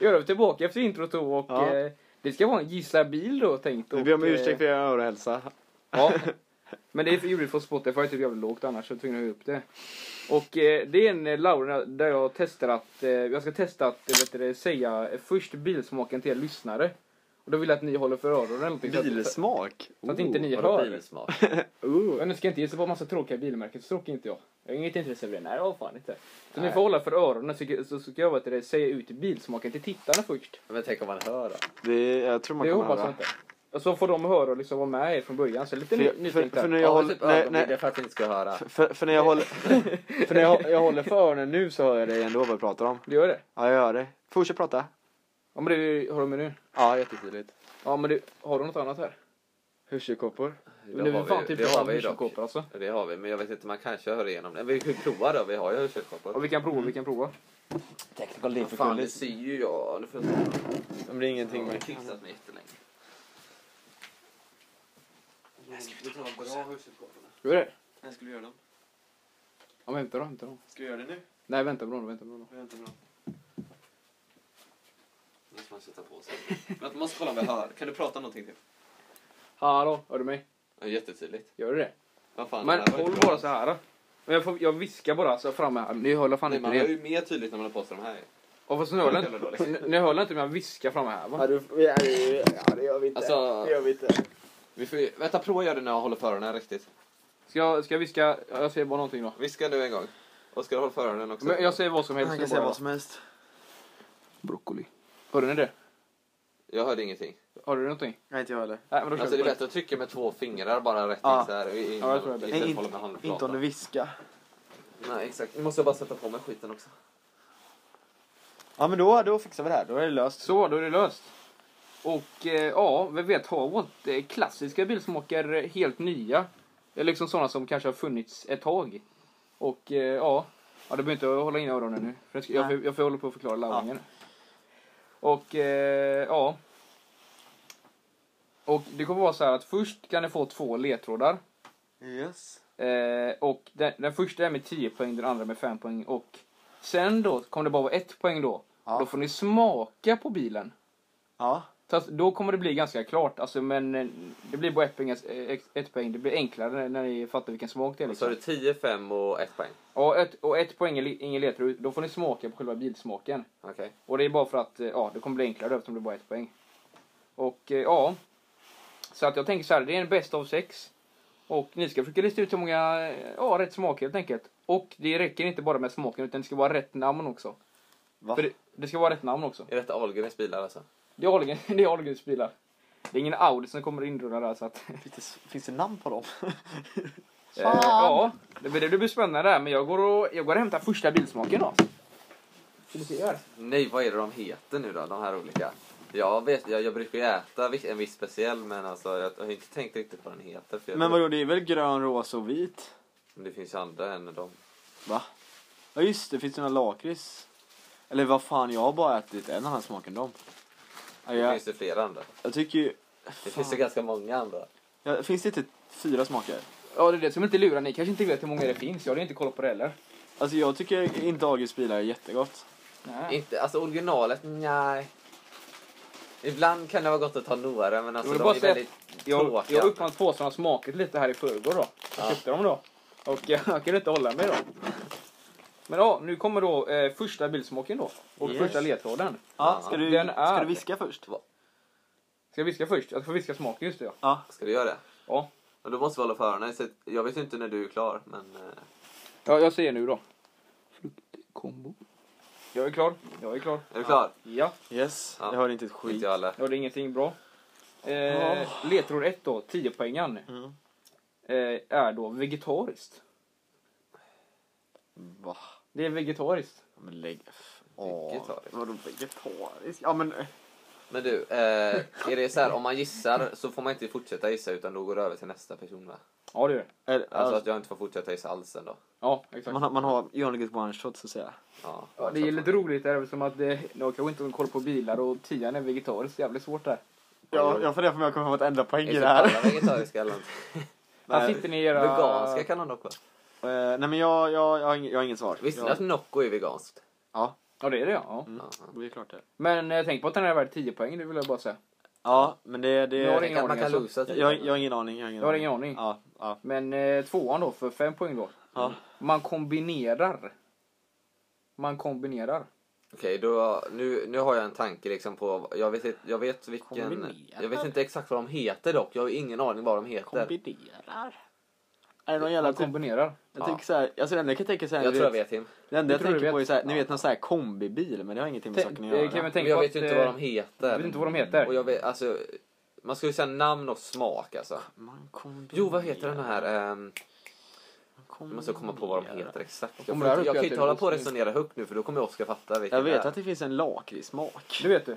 Jag är tillbaka efter introt då och Ja. eh, det ska vara en gissa bil då tänkt. Vi ber om och, eh, ursäkt för er öronhälsa. Ja. Men det är för ljudligt från Spotify typ jävligt lågt annars så jag tvungen att höja upp det. Och eh, det är en eh, Laura där jag testar att, eh, jag ska testa att eh, vet du, det, säga eh, först bilsmaken till er lyssnare. Och då vill jag att ni håller för öronen eller någonting. så att- Bilsmak. Så att inte ni Vadå hör. bilsmak? Oh. Men nu ska jag inte gissa på massa tråkiga bilmärken, så tråkig är inte jag. Jag har inget intresse av det. Nej, jag har fan inte. Så ni får hålla för öronen så, så ska jag vet du, det, säga ut bilsmaken till tittarna först. Men tänk om man hör då. Det, jag tror man det kan hoppas jag höra. inte. Och så får de höra och liksom vara med er från början. Så lite För, ny, jag- för, nytänkt för där. när jag Ja, håller... typ Nej, ögonbindel nej. för att ni inte ska höra. För, för när jag håller... För när jag, jag håller för öronen nu så hör jag dig ändå vad jag pratar om. Du gör det? Ja, jag hör det. Fortsätt prata. Ja, men det har de med nu. Ja, jättetydligt. Ja, men du, har du något annat här? Hörselkåpor. Men nu är vi fan typ det har vi ju dock. hörselkåpor alltså. Det har vi, men jag vet inte, man kanske hör igenom det. Vi kan ju prova då, vi har ju hörselkåpor. Och vi kan prova, vi kan prova. Technical Fan, det ser ju jag. Nu får jag se. Men det är ingenting Jag har man fixat mig jättelänge. Ska vi ta bra hörselkåporna? Ska vi det? Jag skulle göra dem. Ja, vänta då, vänta då. Ska vi göra det nu? Nej, vänta bro, vänta bro. Vänta bra. Nu måste man sätta på sig. Men man måste kolla om vi hör. Kan du prata någonting till? Hallå, hör du mig? Ja, jättetydligt. Gör du det? Vad fan, Men det här var ju håll bra. bara så här. då. Men jag, får, jag viskar bara så fram här. Ni hör fan Nej, inte man hör det. ju mer tydligt när man har på sig de här. Och fast ni hör inte, ni- ni hör inte men jag viskar fram här va? Ja, du, ja, det- ja, det gör vi inte. Alltså- Det gör vi inte. Vi får ju, vänta, prova gör det när jag håller för öronen riktigt. Ska jag, ska jag viska? Ja, Jag säger bara någonting då. Viska du en gång. Och ska du hålla för öronen också? Men jag säger vad som helst. Han kan så säga bara- vad som helst. Broccoli. Hörde ni det? jag hörde ingenting. Hörde du någonting? Nej, inte jag heller. Nej, men då kör Alltså vi det på är bättre att trycka med två fingrar bara rätt Ja. in så här. i- i- Ja, jag tror det är bättre. Istället för att hålla med inte, inte om handflatan. du viskar. Nej, exakt. Nu måste jag bara sätta på mig skiten också. Ja, men då, då fixar vi det här. Då är det löst. Så, då är det löst. Och eh, ja, vem vet, har vi inte klassiska bilsmaker eh, helt nya? Eller liksom sådana som kanske har funnits ett tag. Och eh, ja, ja du behöver inte hålla in öronen nu. För jag, ska, jag, får, jag får hålla på att förklara lauringen. Och eh, ja. Och det kommer vara så här att först kan ni få två ledtrådar. Yes. Eh, och den, den första är med 10 poäng, den andra med 5 poäng. Och sen då kommer det bara vara ett poäng då. Ja. Då får ni smaka på bilen. Ja. Så att då kommer det bli ganska klart, alltså, men eh, det blir bara ett poäng, eh, ett poäng. Det blir enklare när- när ni fattar vilken smak det är. Så har Liksom. du 10, 5 och 1 poäng. Och, ett, och ett poäng är li- ingen ledtråd, då får ni smaka på själva bilsmaken. Okej. Och det är bara för att eh, ja, det kommer bli enklare eftersom det bara är ett poäng. Och eh, ja, så att jag tänker så här, det är en bäst av sex. Och ni ska försöka lista ut hur många, eh, ja, rätt smaker helt enkelt. Och det räcker inte bara med smaken utan det ska vara rätt namn också. Va? För det, det ska vara rätt namn också. Är detta Ahlgrens bilar alltså? Det är Ahlgren- det är Ahlgrens bilar. Det är ingen Audi som kommer inrullad där så att... Finns det, finns det namn på dem? Eh, ja, det blir, det blir spännande där. Men jag går och, jag går och hämtar första bilsmaken då. Ska du se här? Nej, vad är det de heter nu då? De här olika. Jag, vet, jag, jag brukar ju äta vi- en viss speciell men alltså, jag har inte tänkt riktigt vad den heter. För jag Men vadå, det är väl grön, rosa och vit? Men det finns ju andra än de. Va? Ja just det, finns det några lakrits? Eller vad fan, jag har bara ätit en annan smak än dem. Ja, Det Jag, finns det flera andra. jag tycker ju... Det finns det ganska många andra. Ja, finns det inte fyra smaker? Ja, det är det som inte lurar. Ni kanske inte vet hur många det finns. Jag hade inte kollat på det heller. Alltså jag tycker inte Agis bilar är jättegott. Nej. Inte, alltså originalet, nej. Ibland kan det vara gott att ta några men alltså vill de bara är säga väldigt Jag, tråkiga. jag uppfann påsarna smaket lite här i förrgår då. Jag Ja. köpte dem då. Och jag, kunde inte hålla mig då. Men ja, nu kommer då eh, första bildsmaken då. Och Yes. första ledtråden. Ja, ska du, Den ska är- du viska först? Ska jag viska först? Jag får viska smaken just det ja. Ja. Ska du göra det? Ja, Ja, då måste vi hålla för öronen. så att- Jag vet inte när du är klar men... eh, ja jag säger nu då. Fruktkombo. Jag är klar. Jag är klar. Är du klar? Ja, Yes, Ja. jag hörde inte ett Skit skit. i alla. jag hörde ingenting bra. Eh, Ja. Ledtråd 1 då, 10 poängen. Mm. Eh, är då vegetariskt. Va? Det är vegetariskt. Ja, Men lägg... Åh, Vegetariskt. Vadå vegetariskt? Ja men... Men du, eh, är det så här om man gissar så får man inte fortsätta gissa utan då går det över till nästa person va? Ja, det är det. Är, Alltså alltså, att jag inte får fortsätta gissa alls ändå. Ja, exakt. man, har- man har... You only get one shot så att säga. Ja, Ja, det är lite roligt där eftersom att det, jag kanske inte har koll på bilar och tian är vegetarisk. Det är jävligt svårt där. Jag, jag funderar på om jag kommer få ett enda poäng i Är det alla här. vegetariska eller något? Här Nej. sitter ni i era... Veganska kan han dock vara. Eh, nej men jag, jag, jag, har ing- jag har inget svar. Visste ni jag, att Nocco är veganskt? Ja, Ja, det är det ja. ja. mm. Jaha. det är klart det. Men eh, tänk på att den är värd 10 poäng, det vill jag bara säga. Ja, men det... det Jag har Tänk ingen att man aning, kan alltså. losa jag, till jag, jag har ingen aning. Jag har ingen, Jag har ingen aning. Ja, ja. Men eh, tvåan då, för 5 poäng då. Ja. Man kombinerar. Man kombinerar. Okej, då, nu, nu har jag en tanke liksom på, jag vet, inte- jag vet vilken, Kombinerar? jag vet inte exakt vad de heter dock, jag har ingen aning vad de heter. Kombinerar? Är det någon jävla Man typ, kombinerar. jag Ja. tänker såhär, alltså det enda jag kan tänka såhär, Jag tror jag vet Tim. det Jag enda jag, tror du tänker på vet. är såhär, ni vet någon sån här kombibil men det har ingenting med saken att göra. Tänk, Kevin, Men tänk jag på vet att, ju inte eh, vad de Jag heter. vet inte vad de heter. Och jag vet, alltså, man skulle säga namn och smak alltså. Man kombinerar. Jo, vad heter den här? ehm, Kombinerar. Jag måste komma på vad de Mm. heter exakt. Jag, Kommer får, det här inte- jag upp kan i ju inte hålla på och telefonen? resonera högt nu för då kommer Oskar fatta vilken Jag vet det är. att det finns en lakritssmak. Det vet du.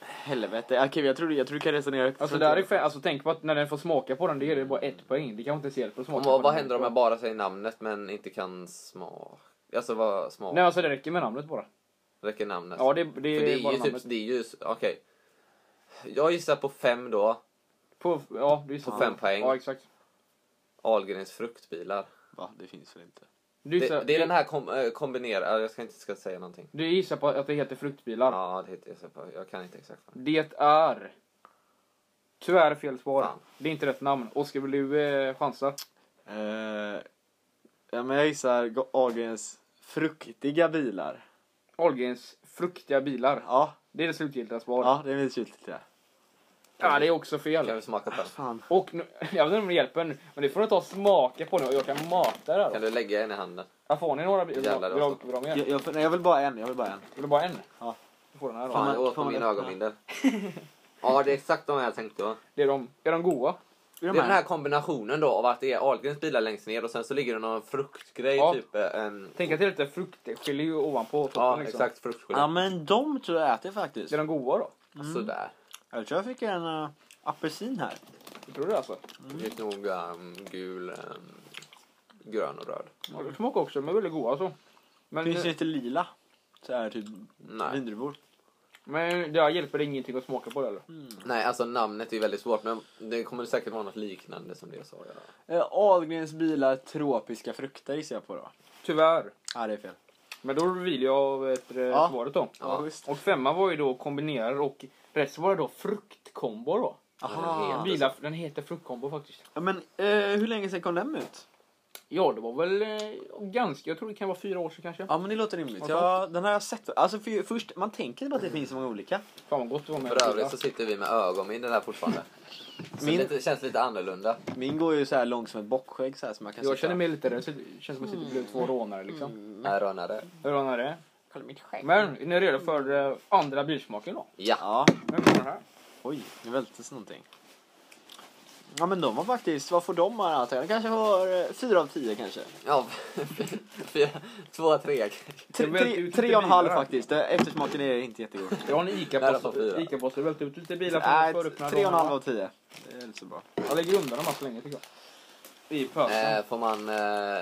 Helvete, okej jag tror, jag tror du kan resonera högt. Alltså, det här är fem, alltså tänk på att när den får smaka på den, det ger det bara ett poäng. Det kan inte ens hjälpa att smaka Om, på vad den. händer om jag bara säger namnet men inte kan smak? Alltså vad smak? Nej, alltså det räcker med namnet bara. Räcker namnet? Ja, det, det, För är det är bara ju typ, namnet. det är ju, okej. Jag gissar på fem då, På, ja, du gissar På fem poäng. Ja, exakt. Ahlgrens fruktbilar. Va, det finns väl inte? Du gissar, Det, det är den här kom, äh, kombinerade, jag ska inte ska säga någonting. Du gissar på att det heter fruktbilar. Ja, det heter jag, så på. jag kan inte exakt vad det Det är... Tyvärr fel svar. Fan. Det är inte rätt namn. Oskar, vill du eh, chansa? Eh, ja men jag gissar Go- Ahlgrens fruktiga bilar. Ahlgrens fruktiga bilar. Ja, Det är det slutgiltiga svaret. Ja. ja det är mitt slutgiltiga. det är också är. Kan fel. vi smaka på den? Fan. Och nu, jag vet inte om det hjälper nu, men det får du ta och smaka på nu och jag kan mata det Ah. här. Kan då. du lägga en i handen? Här får ni några bilar. Jävlar, Vill du ha- alltså. vill du ha mer? Jag, jag, nej, jag vill bara en, jag vill bara en. Vill du bara en? Ja. Du får den här då. Fan, man- jag åt får med man mina öppna? ögonbindel. Ja, det är exakt de jag tänkte va. Det är, de, är de goda? Är de Det är den här? här kombinationen då av att det är Ahlgrens bilar längst ner och sen så ligger det någon fruktgrej Ja. typ. eh, En, Tänk att det är lite fruktgelé ovanpå. toppen, ja, liksom. exakt fruktgelé. Ja mm. men de tror jag äter faktiskt. Det är de goda då? Sådär. Jag tror jag fick en eh, apelsin här. Jag tror det alltså. Mm. Det är nog um, gul, ehm, grön och röd. Ja, det smakar också, men väldigt goda alltså. Men, Finns det inte lila? Så här typ Nej. vindruvor. men det här hjälper ingenting att smaka på det eller? Nej, alltså namnet är ju väldigt svårt men det kommer säkert vara något liknande som det jag sa. Ja. Eh, Ahlgrens bilar tropiska frukter gissar jag på då. Tyvärr. Ja det är fel. Men då vill jag efter Ja. svaret då. Ja, schysst. Och femman var ju då kombinerad och rätt svar är då fruktkombo då. Ja, Aha. det är Bilar, den heter fruktkombo faktiskt. Ja, men eh, hur länge sedan kom den ut? Ja, det var väl eh, ganska, jag tror det kan vara fyra år sedan kanske. Ja men det låter rimligt. Och Ja, den har jag sett. Alltså för, först, man tänker bara att det finns så många olika. Fan vad gott det var med För övrigt bilar. så sitter vi med ögonbindel här fortfarande. Så Min- det känns lite annorlunda. Min går ju så här långt som ett bockskägg så här som man kan Jag sitta- känner mig lite rädd, så det känns som att jag sitter Mm. bredvid två rånare liksom. Mm. Här rönare. Rånare är det? Kolla mitt skägg. Men är ni redo för eh, andra bilsmaken då? Ja. Ja. Nu kommer den här. Oj, nu vältes någonting. Ja men de har faktiskt, vad får de här antagligen? Kanske har eh, fyra av tio kanske. ja. Fyra, två, tre. Eh, Tre, Det välte tre, ut tre lite och en halv bilar. faktiskt. Det- Eftersmaken är inte jättegod. Jag har en Där har vi ICA-påse. fyra. ICA-påse vält ut lite bilar Nej, från tre föröppna och en halv rånarna. av tio. Det är inte så bra. Jag lägger undan dem här så länge tycker jag. I pösen. Eh, får man, eh,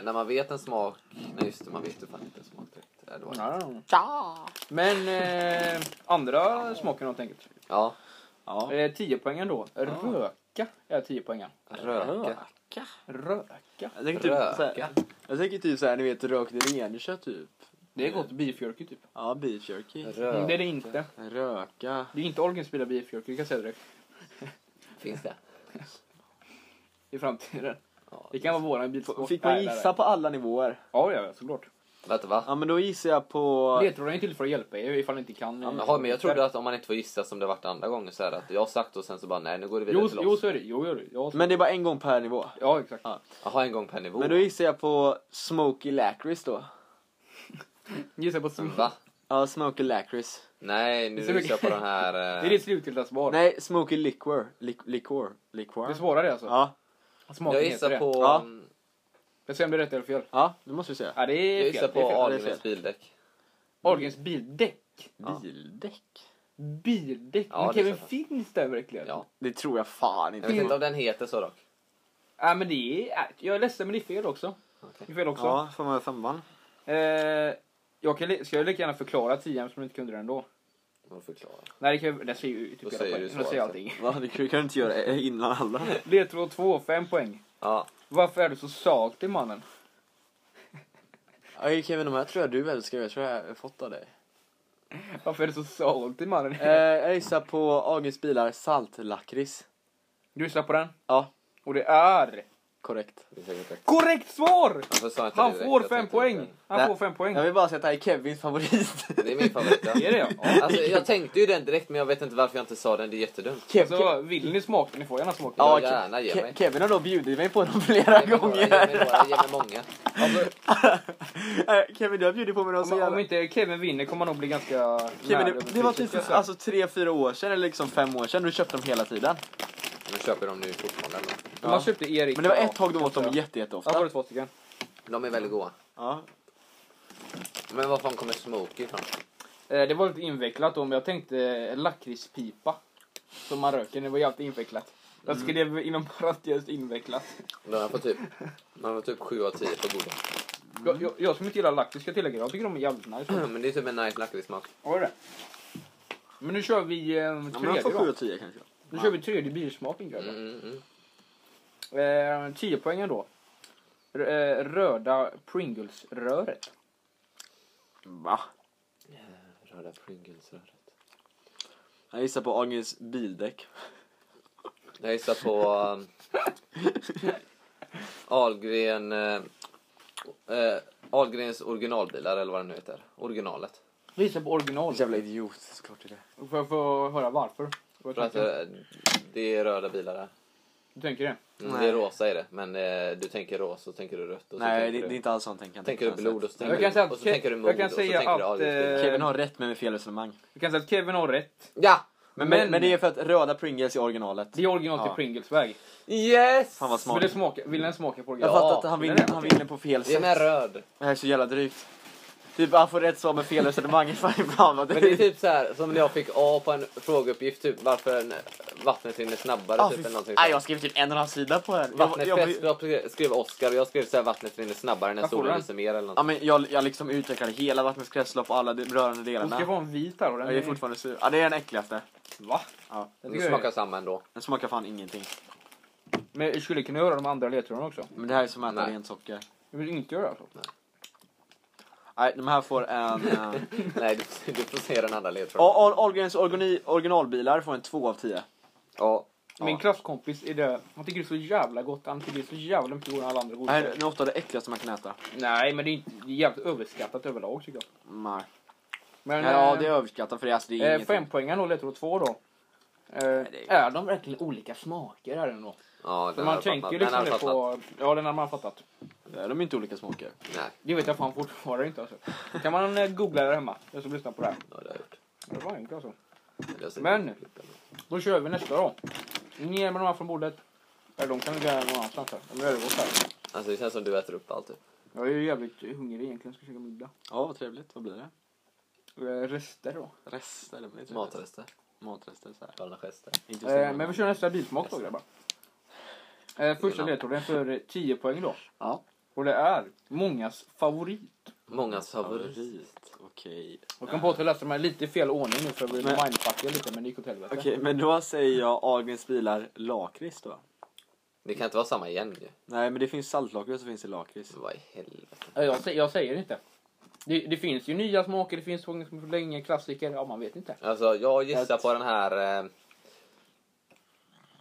när man vet en smak... Nej just det, man vet ju fan inte en smak direkt. Ja, det var det. Ja. Men eh, andra smaken helt enkelt. Ja, Eh, 10 poängen då. Röka är 10 poängen. röka. Röka. Jag tänker typ Röka. såhär, jag tänker typ såhär, ni vet rökt renkött typ. Det är gott beefjerky typ. Ja, beef jerky. Mm, det är Röka. det inte. Röka. Det är inte Olgens bilar beefjerky, det kan jag säga direkt. Finns det? I framtiden. Ja, Det kan vara våran bilsport. Fick man Nej, nej, gissa nej. på alla nivåer? Ja, ja, såklart. Vänta, va? Ja, men då gissar jag på... Ledtrådarna är till för att hjälpa er ifall ni inte kan. eh, Jaha, men jag trodde att om man inte får gissa som det varit andra gånger så är det att jag har sagt och sen så bara nej, nu går det vidare Jo, till jo, oss. så är det. Jo, jo, jo. Men det är bara en gång per nivå. Ja, exakt. Jaha, en gång per nivå. Men då gissar jag på Smoky Lakrits då. Gissa på smak. Mm, Va? Ja, Smoky Lakrits. Nej, nu Så gissar jag mycket- på den här... Det är eh, ditt slutgiltiga svar. Nej, Smoky Liquor. Liqu- liquor. Liquor. Du svarar det alltså? Ja, Smaken Jag heter gissar det. på... Ja. Jag säger om det är rätt eller fel. ja, det måste vi säga. Ja, det Jag är gissar fel. Det är på fel. det är Ahlgrens fel. bildäck. Ahlgrens bildäck. Bildäck? Bildäck? Ja, men det är Kevin, så. finns det verkligen? Ja. Det tror jag fan Jag inte. vet inte om den heter så dock. Ja, men det är... Jag är ledsen, men det är fel också. Det är fel också. Ja, får man femman? Eh, jag kan, li- ska jag lika gärna förklara 10 som inte kunde det ändå? Vad förklarar. Nej, det, kan, jag- det ser ju typ Då hela säger poängen. du Då svaret säger jag sen. allting. Va, det kan du inte göra eh, innan alla. Ledtråd 2, 5 poäng. Ja. Varför är du så saltig mannen? Okej Kevin, de här tror jag du älskar. Jag tror jag har fått av dig. Varför är du så saltig mannen? Eh, jag gissar på Agens bilar saltlakrits. Du gissar på den? Ja, Och det är... korrekt. Det är säkert rätt. Korrekt svar! Varför sa jag inte Han det direkt? får Jag fem tänkte poäng! inte- Han Nej. får fem poäng. Jag vill bara säga att det här är Kevins favorit. Det är min favorit. ja. Det är det ja. Alltså, jag tänkte ju den direkt men jag vet inte varför jag inte sa den. Det är jättedumt. Kev, Kev, Så Alltså, vill ni smaka, ni får gärna smaka. Ja, Ke- gärna, ge Ke- mig. Kevin har då bjudit mig på dem flera Ge mig några, ge mig gånger. några, ge mig många. Eh, Kevin, du har bjudit på mig dem så Om, Alltså, om jävla... inte Kevin vinner kommer han nog bli ganska Kevin, nära det, det var besviken. typ alltså, tre, fyra år sedan eller liksom fem år sedan. Du köpte dem hela tiden. Nu köper de nu fortfarande. eller? Man alltså- ja. köpte Erik. Men det var och- ett tag du åt dem jätte, Ja, var jätteofta. det två stycken. De är väldigt goda. Ja. Men var fan kommer Smokey ifrån? Eh, Det var lite invecklat då, men jag tänkte eh, lakritspipa. Som man röker, det var jävligt invecklat. Jag Mm. skrev inom parentes invecklat. Den här får typ, man får typ 7 av 10 på goda. Mm. Jag, jag, jag som inte gillar lakrits ska jag tillägga, jag tycker de är jävligt nice. Men det är typ en nice lakritssmak. Ja, det är det. Men nu kör vi eh, Ja, men alltså tredje jag får 7 av då. 10 kanske. Nu kör vi tredje bilsmaken grabbar. Mm, mm, mm. Eh, 10 poängen då. R- eh, röda Pringles-röret. Va? Röda Pringles-röret. Jag gissar på Agens bildäck. Jag gissar på um, Ahlgren... eh, eh, Ahlgrens originalbilar eller vad den nu heter. Originalet. Gissa på original. Jävla idiot, såklart är det. Får jag få höra varför? Vad För att tänker du? eh, det är röda bilar där. Du tänker det? Mm, Nej. det är rosa är det. Men eh, du tänker rosa och tänker du rött. Och så Nej, det, tänker det är du, inte alls sånt tänkande. tänker du blod och så Jag tänker, kan du, säga att, och så tänker du Ke- mord jag kan och så säga tänker du att, Ahlgrens. eh, Kevin har rätt men med fel resonemang. jag kan säga att Kevin har rätt. Ja! Men, men, Men- men det är för att röda Pringles är originalet. Det är original till Ja. Pringles väg. Yes! Fan Men vad smart. det smakar, vill den smaka på Jag original? fattar att han men vinner, det är han vinner på fel Det är sätt. med röd. Det här är så jävla drygt. Typ han får rätt svar med fel resonemang. Fan, Ibland. Men Men det är typ så här som när jag fick A på en frågeuppgift, typ varför en- vattnet rinner snabbare. ah, typ, eller någonting ah, sånt. jag skrev typ en och en halv sida på det här. Vattnet jag, jag, jag, jag, skrev Oscar och jag skrev så här vattnet rinner snabbare när Vad får solen den? lyser mer eller ja, något. men jag, jag liksom utvecklade hela vattnets kretslopp och alla de rörande Hon delarna. ska få en vit här och den Jag är fortfarande sur. Ja, det är den äckligaste. Va? Ja. Den Det tycker jag smakar är... samma ändå. Den smakar fan ingenting. Men jag skulle kunna göra de andra ledtrådarna också. Men det här är som att äta Nej. rent socker. Jag vill inte göra det alltså. Nej, de här får en... eh, Nej, du, du får se den andra ledtråden. Ahl- Ahlgrens origoni- originalbilar får en 2 av 10. Ja. Min klasskompis är det, han tycker det är så jävla gott. Han tycker det är så jävla mycket godare än alla andra Det här är godisar. nog ofta det äckligaste man kan äta. Nej men det är, inte, det är jävligt överskattat överlag tycker jag. Nej. Men, Ja, eh, det är överskattat för det, är- alltså, det är Eh, ingenting. fempoängaren då, ledtråd två då. Eh, det är... är- de verkligen olika smaker? Är det nog? ja För den man hade tänker ju liksom fattat. Den det hade fattat. på... Ja, den hade man fattat. Nej, De är inte olika smaker. Nej, Det vet jag fan fortfarande inte alltså. Då kan man eh, googla där hemma, jag som lyssnar på det här. det har jag gjort. Det var enkelt alltså. Eller jag ser- Men- Då kör vi nästa då. Ner med de här från bordet. Eller de kan vi göra någon annanstans här. De är övergått här. Alltså det känns som du äter upp allt. Typ. Jag är ju jävligt hungrig egentligen, ska käka middag. Ja, vad trevligt. Vad blir det? Eh, Rester då. Rester? Det blir trevligt. Matrester, Matrester. Så här. galna gester. Inte så Eh, många. men vi kör nästa bilsmak då grabbar. Eh, första Innan. ledtråden för eh, 10 poäng då. Ja. Och det är mångas favorit. Mångas favorit. Favorit. Okej. Och kom på att jag läste de här lite i fel ordning nu för jag blev Men- mindfuckad lite men det gick åt helvete. Okej, men då säger jag Ahlgrens bilar lakrits då. Det kan inte vara samma igen ju. Nej, men det finns saltlakrits och finns det lakrits. Vad i helvete. Nej, Jag, sä- jag säger inte. Det, det finns ju nya smaker, det finns sånger som är länge, klassiker. Ja, man vet inte. Alltså, jag gissar på den här... Eh,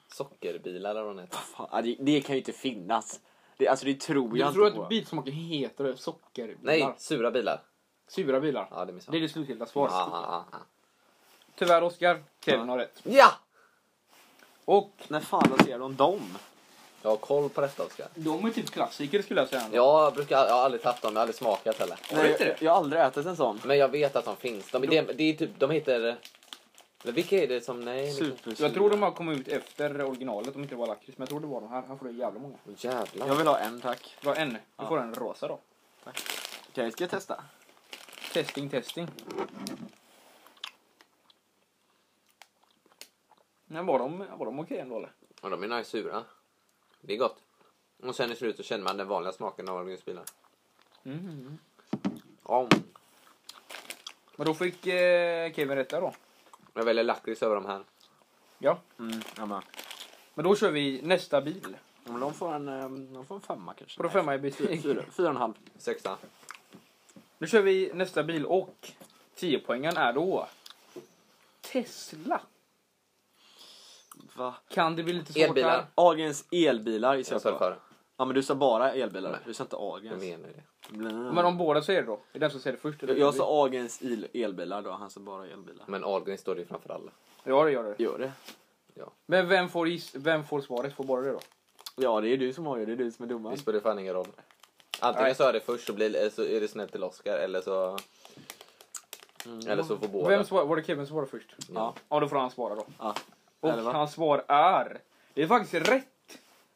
sockerbilar eller vad den heter. Fan, ja, det, det kan ju inte finnas. Det, alltså det tror Du jag tror inte på. att bitsmaker heter sockerbilar? Nej, sura bilar. Sura bilar. Ja, det missade Det är jag. det slutgiltiga svaret. Ah, ah, ah, ah. Tyvärr, Oskar. Kevin har rätt. Ja! Och När fan lanserar de dem? Jag har koll på detta, Oskar. de är typ klassiker skulle jag säga. Jag, brukar, jag har aldrig tagit dem, jag har aldrig smakat heller. Nej, inte det? jag har aldrig ätit en sån. Men jag vet att de finns. De, det, det är typ, de heter... Men vilka är det som... Nej, det- Super. Jag tror de har kommit ut efter originalet om inte det var lakrits. Men jag tror det var de här. Här får du jävla många. Åh, Jävlar. Jag vill ha en tack. Det var en. Du får en rosa då. Okej, ska jag testa? Testing, testing. Men var de, var de okej ändå eller? Ja, de är nice sura. Det är gott. Och sen i slutet känner man den vanliga smaken av orgelsbilar. Mm. Men då fick eh, Kevin rätt där då. Jag väljer lakrits över de här. Ja. Mm, ja, men. Men då kör vi nästa bil. Om de får en, eh, de får en femma kanske. Får du femma i Nej, betyg? Fyra, fyra och en halv. Sexa. Nu kör vi nästa bil och 10 poängen är då Tesla. Va? Kan det bli lite svårt Elbilar. Ahlgrens elbilar gissar Jag jag sa det på. förr. Ja men du sa bara elbilar, Nej. du sa inte Jag Ahlgrens. menar det. Blah. här? Men om båda säger det då? Är det den som säger det först? eller? Jag, jag sa Ahlgrens il- elbilar då, han sa bara elbilar. Men Ahlgrens står det ju framför alla. Ja, det gör det. Gör det? Men vem får, giss, vem får svaret? Får bara det då? Ja det är du som har det, det är du som är Det domaren. spelar fan ingen roll. Antingen så är det först så, blir, eller så är det snällt till Oscar eller så... Eller så får båda. Vem svar, var det Kevin som svarade först? Ja. Ja, då får han svara då. Ja. Och Eller vad? hans svar är... Det är faktiskt rätt!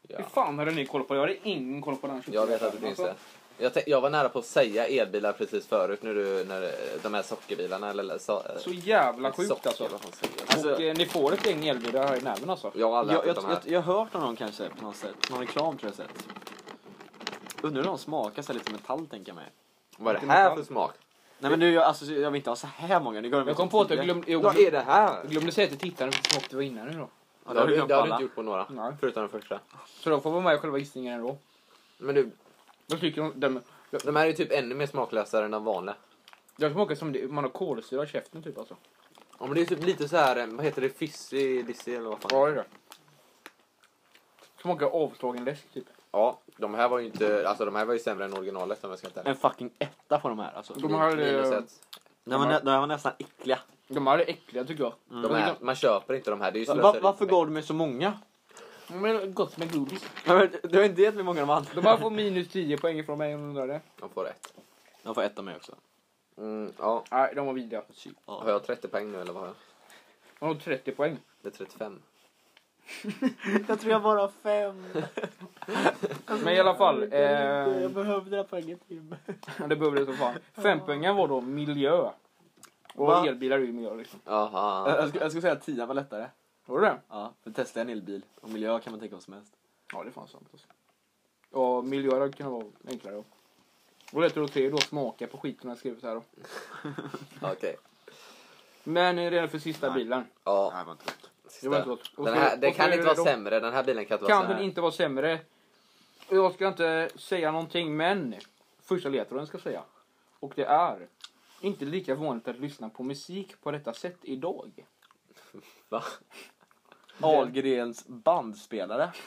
Hur Ja. fan hade ni koll på? Jag hade ingen koll på den. här Alltså, Jag vet att det finns det. Jag, tän- jag var nära på att säga elbilar precis förut när du, när eh, de här sockerbilarna eller, eller så, Så jävla sjukt socker, alltså. vad fan säger jag? Alltså- och eh, ni får ett gäng elbilar här i näven alltså. Jag har aldrig Jag, jag, ätit de här. jag, jag har hört om dem kanske på något sätt, någon reklam tror jag sett. Undrar hur de smakar, så här lite metall tänker jag mig. Vad är det Inte här metall. för smak? Nej men nu, jag, alltså, jag vill inte ha så här många, nu går de Jag upp kom till på att jag tio. glömde, jag Vad glömde, är det här? jag glömde säga till tittarna hur smakade det var innan nu då. Ja, det har, du, glömt det har alla. du inte gjort på några. Nej. Förutom den första. Så de får vara med i själva gissningen ändå. Men du, Jag tycker de, de, de här är ju typ ännu mer smaklösare än de vanliga. de smakar som det, man har kolsyra i käften typ alltså. Ja, men det är typ lite så här, eh, vad heter det, fizzy, dizzy eller vad fan. Ja, det är det. Smakar avslagen läsk typ. Ja, de här var ju inte, alltså de här var ju sämre än originalet om jag ska inte En fucking etta på de här alltså. De här, Minus eh, ett. De var, nä, de var nästan äckliga. de här är äckliga tycker jag. De här, man köper inte de här, det är ju Va, slöseri. varför gav du mig så många? De är gott med godis. Nej, men, du har inte gett mig många de andra. De här får minus 10 poäng från mig om ni undrar det. De får ett. De får ett av mig också. Typ. Mm, ja. Nej, de var vidriga. Har jag 30 poäng nu eller vad har jag? De har 30 poäng. Det är 35. Jag tror jag bara har fem. Men i alla fall. Eh, Alltså, Jag behövde det här poänget Tim. det behöver det som fan. Fempoängen var då miljö. Och Va? elbilar är ju miljö liksom. Jaha. Jag, skulle säga att tian var lättare. Var det det? Ja, för testa en elbil. Och miljö kan man tänka vad som helst. Ja, det är fan sant. Alltså. Ja, miljöer kan vara enklare. då. Och lättare att se då smaka på skiten jag skrivit här då. Eh. Okej. Men eh, det är för sista Nej. bilen. Ja. det var inte gott. Det var inte gott. Och Den så- här, det och så är kan inte vara då- sämre, den här bilen kan inte vara Kan väl sämre. inte vara sämre. Och Jag ska inte säga någonting men. Första ledtråden ska jag säga. Och det är. Inte lika vanligt att lyssna på musik på detta sätt idag. Va? Ahlgrens bandspelare.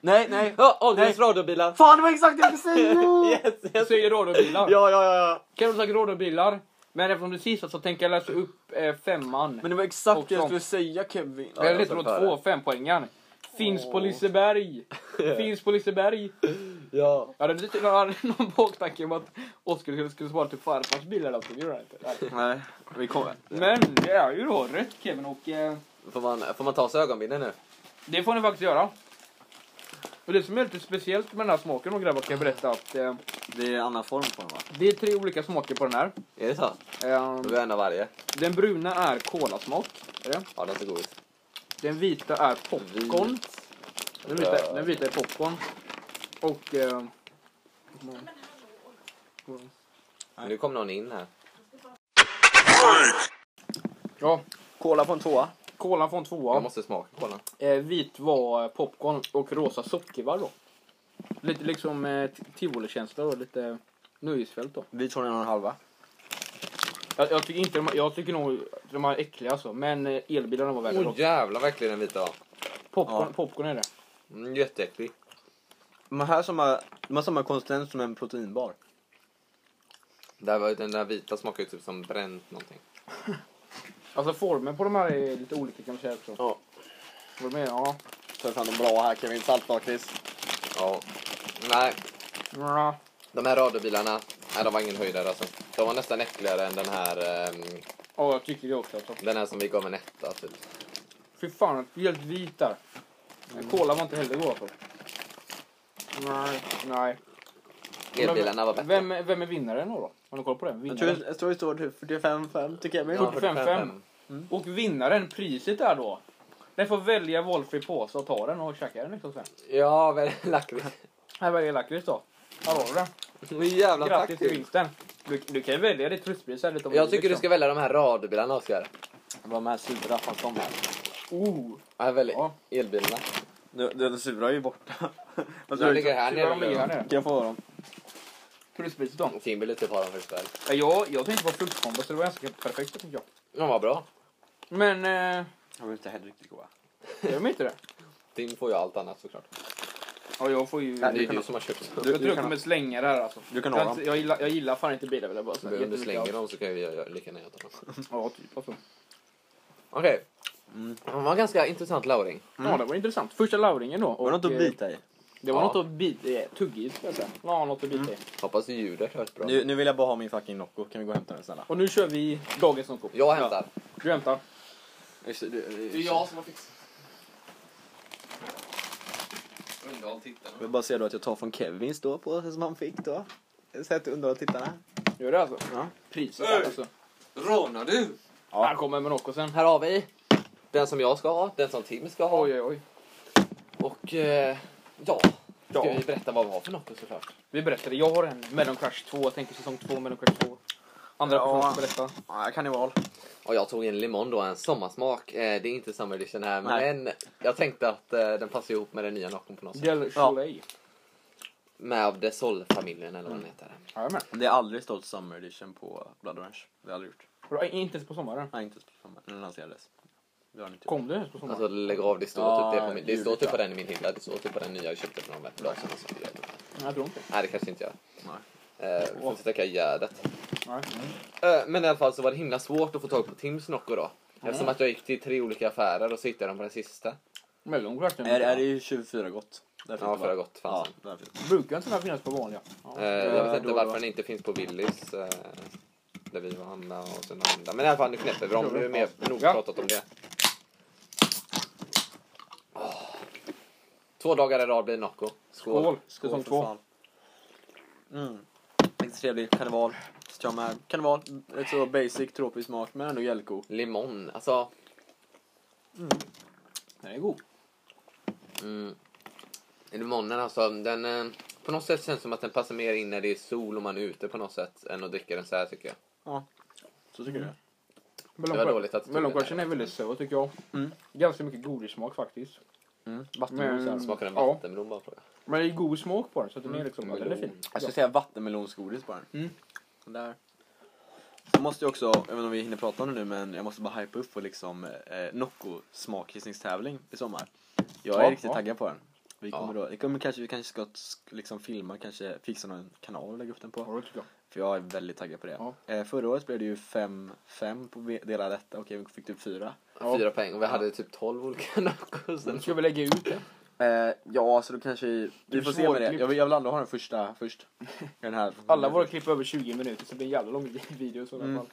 nej, nej. Ja, Ahlgrens radiobilar! Fan, det var exakt det jag skulle säga! Yes, yes. Säger radiobilar. Ja, ja, ja. Kan du sagt radiobilar? Men eftersom det är sista så tänker jag läsa upp eh, femman. Men det var exakt Och det jag sånt. skulle säga Kevin. Ja, Eller jag ska ledtråd föra. två, fempoängaren. Finns på Liseberg. Finns på Liseberg. Ja. Jag hade lite jag hade någon baktanke om att Oskar skulle, skulle svara till farfars bil eller något. Det gjorde han inte. Nej. Nej, vi kommer. Men det är ju då rätt Kevin och eh, Får man, får man ta sig ögonbindeln nu? det får ni faktiskt göra. Och det som är lite speciellt med den här smaken och grabbar kan jag berätta att eh, Det är en annan form på den va? det är tre olika smaker på den här. Är det så? Eh, Då är en av varje. den bruna är kolasmak. Är det? Ja, den ser god ut. Den vita är popcorn. Den vita, den vita är popcorn. Och... Eh, Nu kom någon in här. ja, Kola på en tvåa. kolan från tvåa. Jag måste smaka kolan. Eh, vit var eh, popcorn och rosa sockervadd då. Lite liksom eh, t- tivolikänsla och lite nöjesfält då. Vi tror en och en halva. Jag, jag tycker inte de, jag tycker nog de här är äckliga alltså. Men eh, elbilarna var värre. Åh då. jävlar verkligen den vita var. popcorn, popcorn är det. Mm, jätteäcklig. De här som har, de har samma konsistens som en proteinbar. Där var, den där vita smakar ju typ som bränt någonting. Alltså formen på de här är lite olika kan man säga också. Ja. Vad du menar? Ja. Ta fram de bra här Kevin. Saltlakrits. Ja. Nej, Nja. de här radiobilarna, nej de var ingen höjdare alltså. De var nästan äckligare än den här, ehm, Ja, jag tycker det också alltså. den här som vi gav en etta typ. Fy fan, helt vit där. Men Cola var inte heller god alltså. Nej, nej. Elbilarna var bättre. Vem, vem är vinnaren då? då? Har ni koll på det? Jag Vinnaren. tror, jag tror det står typ 45-5 till Kevin. Ja, 45. 45. Och vinnaren, priset är då. Den får välja valfri påse och ta den och käka den liksom sen. Ja, väl lakrits. Här väljer jag lakrits då. Här har du den. Men jävla Grattis tack till till. vinsten. Du, du kan ju välja ditt tröstpris här lite om Jag vill, tycker du ska liksom. välja de här radiobilarna Oskar. De här sura, fast de här. Oh, Ja, välj Ja. elbilarna. Nu- Den sura är ju borta. Vad tror De du? ligger Kan här det är de här nere. nere. jag få dem? Tröstpriset då. Tim ville typ ha dem för spel. Ja, Jag, jag tänkte på fruktkombo så det var ganska perfekt tycker jag. De var bra. Men, eh, De är inte heller riktigt goda. jag vet inte det. Tim får ju allt annat såklart. Ja, jag får ju... Det är ju jag du som har köpt dem. Du, tror du jag kan, kommer slänga det här alltså. du kan ha Jag, dem. jag, gillar, jag gillar fan inte bilar vill jag bara säga. Men om du Jättemycket slänger av- dem så kan vi göra- lika gärna äta dem. Ja, typ alltså. Okej. Mm. Det var en ganska intressant lauring. Ja, det var intressant. Första lauringen då. Var det något eh, att bita i? Det var Ja. något att bita i. Tugga i, ska jag säga. Ja, något att bita Mm. i. Hoppas ljudet hörs bra. Nu, nu vill jag bara ha min fucking Nocco. Kan vi gå och hämta den snälla? Och nu kör vi dagens Nocco. Jag hämtar. Ja, du hämtar. Jag Det är jag som har fixat. Underhåll tittarna. vill bara säga då att jag tar från Kevins då, på, som han fick då. Så att undrar tittarna. Gör det alltså. Ja. Priset Öj! alltså. Rånar du? Här kommer med Nocco sen. Här har vi den som jag ska ha, den som Tim ska ha. Oj, oj, oj. Och eh, ja, ska Ja. vi berätta vad vi har för något såklart. Vi berättade, jag har en Melon Crush 2. Jag tänker säsong 2, Melon Crush 2. Andra Ja. personer ska berätta. Ja, karneval. Och jag tog en limon då, en sommarsmak. Eh, det är inte summer edition här, Nej. men jag tänkte att eh, den passar ihop med den nya Noccon på något sätt. Del Soleil. Med av Desol-familjen eller vad den heter. Jajamän. Det har aldrig stått Summer Edition på Blood Orange. Det har aldrig gjort. Bra, Eh, Inte ens på sommaren. Nej, inte ens på sommaren. Den lanserades. Det har den inte gjort. Kom du ens på sommaren? Alltså lägg av, det står Ja, typ det på min, Det står ljuvligt, typ på ja. den i min hylla, det står typ på den nya jag köpte för någon vecka sedan. och sånt. Nej, jag tror inte. Nej, det kanske inte gör. Nej. Eh, vi får sträcka gärdet. Nej. Eh, Men i alla fall så var det himla svårt att få tag på Tims Nocco då. Eftersom att jag gick till tre olika affärer och så hittade jag dem på den sista. Melon Crush. Är, är det ju 24 gott? Där Ja, förra gott Ja, fanns den. där finns det. Brukar inte den här finnas på vanliga? Ja. Eh, Jag vet då inte och varför då. den inte finns på Willys. eh, Där vi var Anna och sen andra. Men i alla fall nu knäpper vi dem. Nu är mer nog Ja. pratat om det. Åh. Två dagar i rad blir Nocco. Skål. Skål. Skål Säsong för två. fan. Mm. Riktigt trevlig karneval. Tycker jag med. Karneval, rätt så basic tropisk smak men ändå jävligt Limon. Alltså. Den är god. Mm. Limonen alltså. Den, eh, på något sätt känns det som att den passar mer in när det är sol och man är ute på något sätt. Än att dricka den så här tycker jag. Så tycker du? Melon Det var Crush- dåligt att- Melon Crushen är väldigt söt tycker jag. Mm. Ganska mycket godissmak faktiskt. Mm. Vattenmelon. Men, Smakar den ja, vattenmelon bara fråga. men det är god smak på den så att den är liksom, ja, den är fin. Jag skulle säga vattenmelonsgodis på den. Mm. Där. Så måste jag också, jag vet inte om vi hinner prata om det nu men jag måste bara hypa upp på liksom eh, Nocco smakkissningstävling i sommar. Jag är Ja, riktigt ja. taggad på den. Vi kommer Ja. då, det kommer kanske, vi kanske ska sk- liksom filma, kanske fixa någon kanal och lägga upp den på. Ja, det tycker jag. För jag är väldigt taggad på det. Ja. Eh, förra året blev det ju 5-5 på ve- delar detta och Kevin fick typ 4. Ja. Fyra poäng och vi hade typ 12 olika Noccos. Mm. Nu ska vi lägga ut det. Eh, ja, så då kanske vi... Vi får se med det. svårklippt. Typ Jag vill, jag vill ändå ha den första först. Den här. Alla våra klipp är över 20 minuter så det blir en jävla lång video i sådana Mm. fall.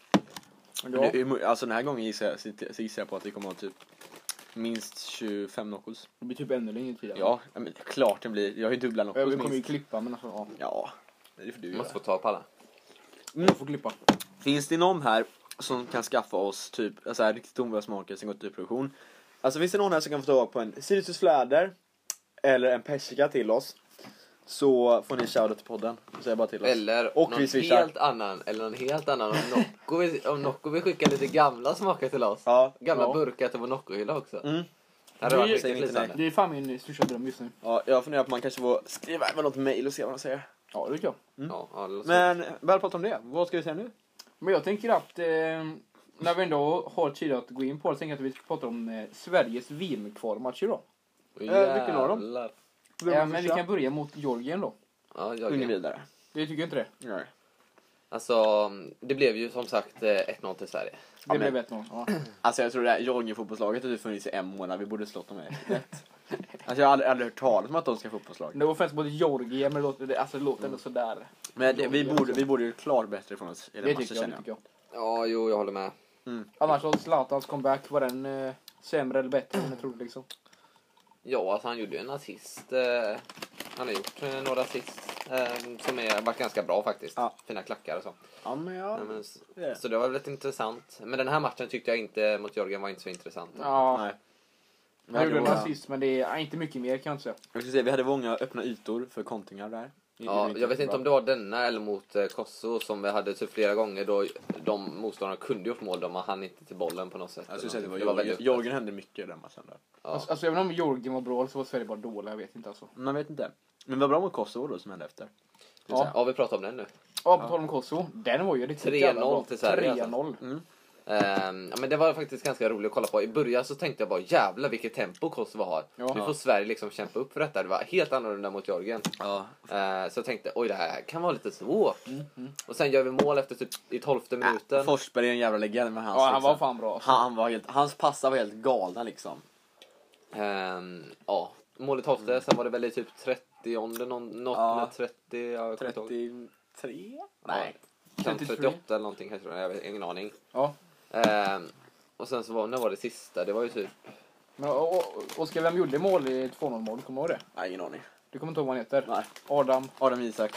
Men Men ja, det är mo- Alltså den här gången gissar jag, så gissar jag på att vi kommer ha typ minst 25 Noccos. det blir typ ännu längre tid. Ja, men klart den blir. Jag har ju dubbla Ja, Vi Noccos kommer ju minst. klippa men alltså, ja. Ja, det får du Vi göra. måste få tag på alla. Jag får klippa. Finns det någon här som kan skaffa oss typ så här, riktigt tomburgarsmaker som gått i produktion? Alltså finns det någon här som kan få tag på en Sirius fläder, eller en persika till oss så får ni shoutout till podden. Säg bara till oss. Eller Och någon vi swishar. helt annan, eller någon helt annan. Om Nocco vill, om Nocco vill skicka lite gamla smaker till oss. Ja, Gamla ja. burkar till vår Nocco-hylla också. Mm. Det hade varit Vi- riktigt säger inte nej. lysande. Det är fan min största dröm just nu. Ja, jag funderar på om man kanske får skriva även något mail och se vad de säger. Ja, det tycker jag. Ja, ja, det låter Men, väl pratat om det. Vad ska vi säga nu? Men jag tänker att eh, när vi ändå har tid att gå in på det, tänker jag att vi ska prata om eh, Sveriges VM-kvalmatcher då. så. eh, vilken av dem? Jävlar. Eh, men vi kan börja mot Georgien då. Ja, jag Ungefär vidare. Det tycker jag inte det. Nej. Alltså, det blev ju som sagt eh, 1-0 till Sverige. Det men- blev 1-0. Ja. Alltså jag tror det här Jorgen-fotbollslaget har typ funnits i en månad. Vi borde slått dem med rätt. Alltså jag har aldrig, aldrig hört talas om att de ska ha fotbollslag. Det var faktiskt mot Georgien, men det låter, det, alltså, det låter ändå sådär. Men det, vi, borde, vi borde ju klart bättre ifrån oss Det i den tycker jag. matchen Det känner tycker jag. jag. Ja, jo, jag håller med. Annars så Zlatans comeback, var den eh, sämre eller bättre än jag trodde liksom? Ja, alltså han gjorde ju en assist. Eh, han har gjort eh, några assist eh, som är, varit ganska bra faktiskt. Ja. Fina klackar och så. Ja men ja. Nej, men, s- det är det. så det var väl ett intressant. Men den här matchen tyckte jag inte mot Jorgen var inte så intressant. Ja, Nej. Vi han hade, gjorde en våra, assist, men det är ja, inte mycket mer kan jag inte säga. jag ska säga, vi hade många öppna ytor för kontingar där. Det- det Ja, är jag vet inte bra. om det var denna eller mot eh, Kosovo som vi hade typ flera gånger då de motståndarna kunde gjort mål, de hann inte till bollen på något sätt. Jag skulle säga att det var, Det var Jorgen. väldigt- Jorgen hände mycket i den matchen där. Ja. Alltså, alltså även om Georgien var bra så var Sverige bara dåliga, jag vet inte alltså. Man vet inte. Men vad bra mot Kosovo då som hände efter. Ja. ja, vi pratar om den nu. Ja, på tal om Kosovo. Den var ju riktigt 3-0 till Sverige, alltså. 3-0. Ehm, ja, men det var faktiskt ganska roligt att kolla på. I början så tänkte jag bara jävla vilket tempo Kosovo har. Ja. Nu får Sverige liksom kämpa upp för detta. Det var helt annorlunda mot Jorgen. Ja. Ehm, så jag tänkte oj det här kan vara lite svårt. Mhm. Och sen gör vi mål efter typ i tolfte minuten. Forsberg är en jävla legend med hans Ja, han var liksom- fan bra. Alltså. han, han var helt, hans passar var helt galna liksom. Ehm, ja, mål i tolfte. Sen var det väl i typ 30 någon, något Mm. Ja. med 30. Ja, jag kommer inte ihåg. 33? Nej. Nej. Kan 33. 38 eller någonting kanske. det var, Jag har ingen aning. Ja. Ehm, och sen så var, när var det sista? Det var ju typ... Men, och, och, Oskar, vem gjorde mål i 2-0 mål? Kommer du ihåg det? Nej, ingen aning. Du kommer inte ihåg vad han heter? Nej. Adam. Adam Isak.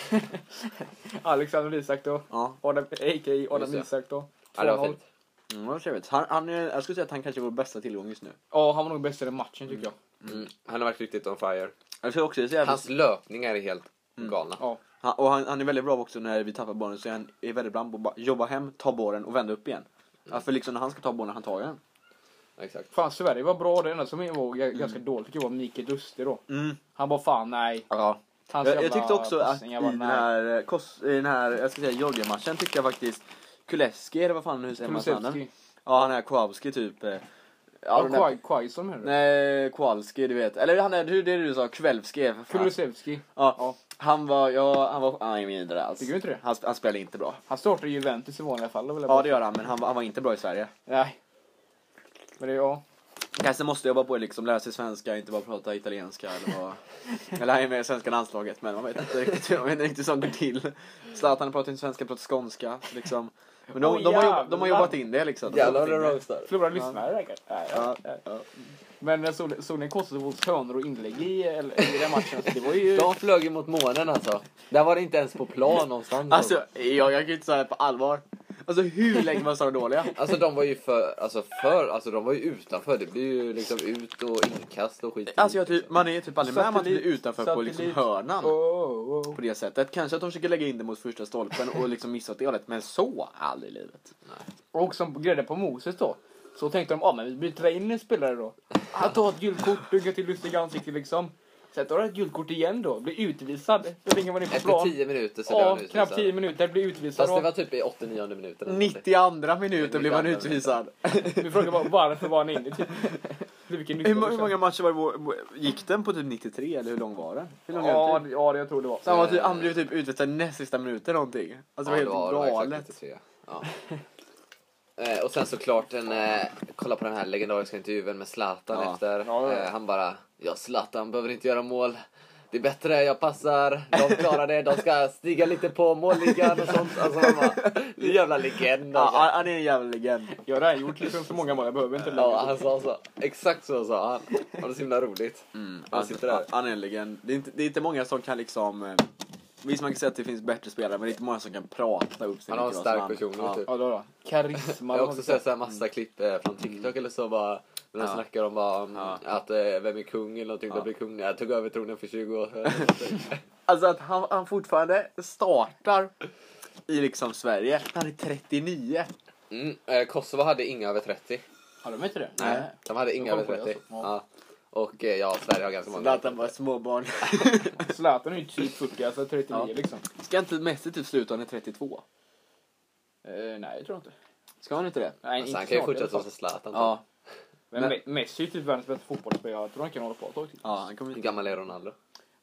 Alexander Isak då. ja. Adam, a.k.a. Adam Just det. Isak då. 2-0. Ja, det var fint. Mm, vad trevligt. Han, han, är- jag skulle säga att han kanske är vår bästa tillgång just nu. Ja, han var nog bäst i den matchen tycker jag. Mm. Han har varit riktigt on fire. Jag skulle också säga Hans att löpningar är helt Mm. galna. Ja. han, och han, han är väldigt bra också när vi tappar bollen så är han är väldigt bra på att bara jobba hem, ta bollen och vända upp igen. Ja, för liksom när han ska ta bollen, han tar den. Exakt. Fan, Sverige var bra. Det enda som var g- ganska dåligt tycker jag var Mikael Duste då. Mm. Han bara fan nej. Ja. Hans Jag, jag jävla tyckte också att i passningar var den nej. här, eh, kos, i den här jag ska säga, Jorgen-matchen tyckte jag faktiskt Kuleski, eller vad fan nu säger man hans namn? Kulusevski. Ja, han är Kowalski typ. eh, Ja, Ja, den där- Kwai- Quaison menar du? Nej, Kowalski, du vet. Eller han är, hur det är du sa, Kvällskev. Kulusevski. Ja. Ja. Han var, ja, han var, han är vidare alls. Tycker du inte det? Han, han spelade inte bra. Han startade Juventus i vanliga fall. vill jag Ja, bara det gör han, men han, var- han var inte bra i Sverige. Nej. Men det, ja. Kanske måste jobba på att liksom, lära sig svenska, inte bara prata italienska eller vad. eller han är med i svenska landslaget, men man vet inte riktigt, man vet inte riktigt hur sånt går till. Zlatan pratar inte svenska, pratar skånska, liksom. Men de, Åh, de, har, jobbat, de jävlar. har jobbat in det liksom. De har Jävlar vad jobbat du in det. roastar. Förlorade lyssnare verkar Nej, Ja, nej. ja. Men jag såg, såg ni Kosovos hörnor och inlägg i, eller, i den matchen? Så det var ju... De flög ju mot månen alltså. Där var det inte ens på plan någonstans. Alltså, jag, jag kan ju inte säga det på allvar. Alltså hur länge var Sara dåliga? Alltså de var ju för, alltså för, alltså de var ju utanför. Det blir ju liksom ut och inkast och skit. Alltså jag typ, man är typ aldrig med om att bli Satellit, utanför på liksom satellit. hörnan. Oh, oh, oh. På det sättet. Kanske att de försöker lägga in det mot första stolpen och liksom missa åt det hållet. Men så aldrig i livet. Och som grädde på moset då. Så tänkte de, ja ah, men vi byter in en spelare då. Han tar ett gult kort, duggar till lustiga ansikte liksom. Sen tar han ett gult kort igen då, blir utvisad. Då ringer man in på Efter plan. 10 minuter så blev Ja, han utvisad. knappt 10 minuter, blir utvisad. Fast det var då. typ i 89 minuten. eller någonting. 92 minuter blev man 92 utvisad. Vi frågar bara varför var han inne? Typ. Vilken hur, nytta må- det hur känns. många matcher var det, vår- gick den på typ 93 eller hur lång var den? Hur lång Ja, är den? det- ja, det jag tror det var. Så han, var typ, han blev typ utvisad näst sista minuten någonting. Alltså det var helt exakt galet. 93, Ja. Eh, och sen såklart, en, eh, kolla på den här legendariska intervjun med Zlatan Ja. efter. ja, ja. Eh, han bara, ja Zlatan behöver inte göra mål. Det är bättre, jag passar, de klarar det, de ska stiga lite på målligan och sånt. Alltså han bara, jävla legend Ja, alltså. han- han är en jävla legend. Jag har redan gjort liksom så många mål, jag behöver inte lägga Ja, han sa så. Exakt så sa han. Han hade så himla roligt. Mm. Han sitter där. Han är en legend. Det är, inte, det är inte många som kan liksom... eh, Visst man kan säga att det finns bättre spelare men det är inte många som kan prata upp sig Han har en lika bra stark som han. personlighet, typ. Ja, då, då. Karisma. Jag det var har också det. sett så här massa klipp eh, från TikTok eller så bara När de Ja. snackar om vad, om Ja. att eh, vem är kung eller någonting. Ja. Då blir kung när jag tog över tronen för 20 år sedan. Alltså att han, han fortfarande startar i liksom Sverige. Han är 39. mm, eh, Kosovo hade inga över 30. Har de inte det? De hade inga kom över på det 30. alltså. Ja. Ja. Och eh, ja, Sverige har ganska många. Zlatan var småbarn. Zlatan är ju typ 40, alltså 39 Ja. liksom. Ska inte Messi typ sluta när han är 32? Eh, nej, jag tror inte. Ska han inte det? Nej, Så inte Alltså, han kan snart ju i alla fortsätta fall. som Zlatan. Ja. Men Men- Me- Messi är ju typ världens bästa fotbollsspelare. Jag tror han kan hålla på ett tag till. ja han kommer typ. Hur inte... gammal är Ronaldo?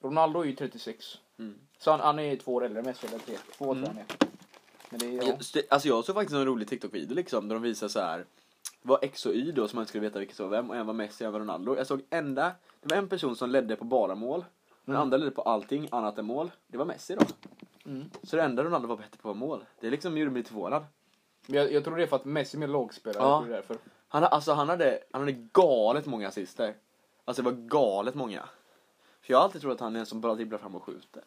Ronaldo är ju 36. Mm. Så han, han är ju två år äldre än Messi, eller tre. Två år tror jag han är. Men det är ja. Just det, Alltså jag såg faktiskt en rolig TikTok-video liksom där de visar så här vad X och Y då som man inte skulle veta vilket som var vem och en var Messi och en var Ronaldo. Jag såg enda, det var en person som ledde på bara mål. Den andra ledde på allting annat än mål. Det var Messi då. Mm. Så det enda Ronaldo var bättre på var mål. Det liksom gjorde mig lite förvånad. Men jag, jag tror det är för att Messi är mer lagspelare. Ja. Jag tror det är därför. Han, alltså, han, hade, han hade galet många assister. Alltså det var galet många. För jag har alltid trott att han är en som bara dribblar fram och skjuter.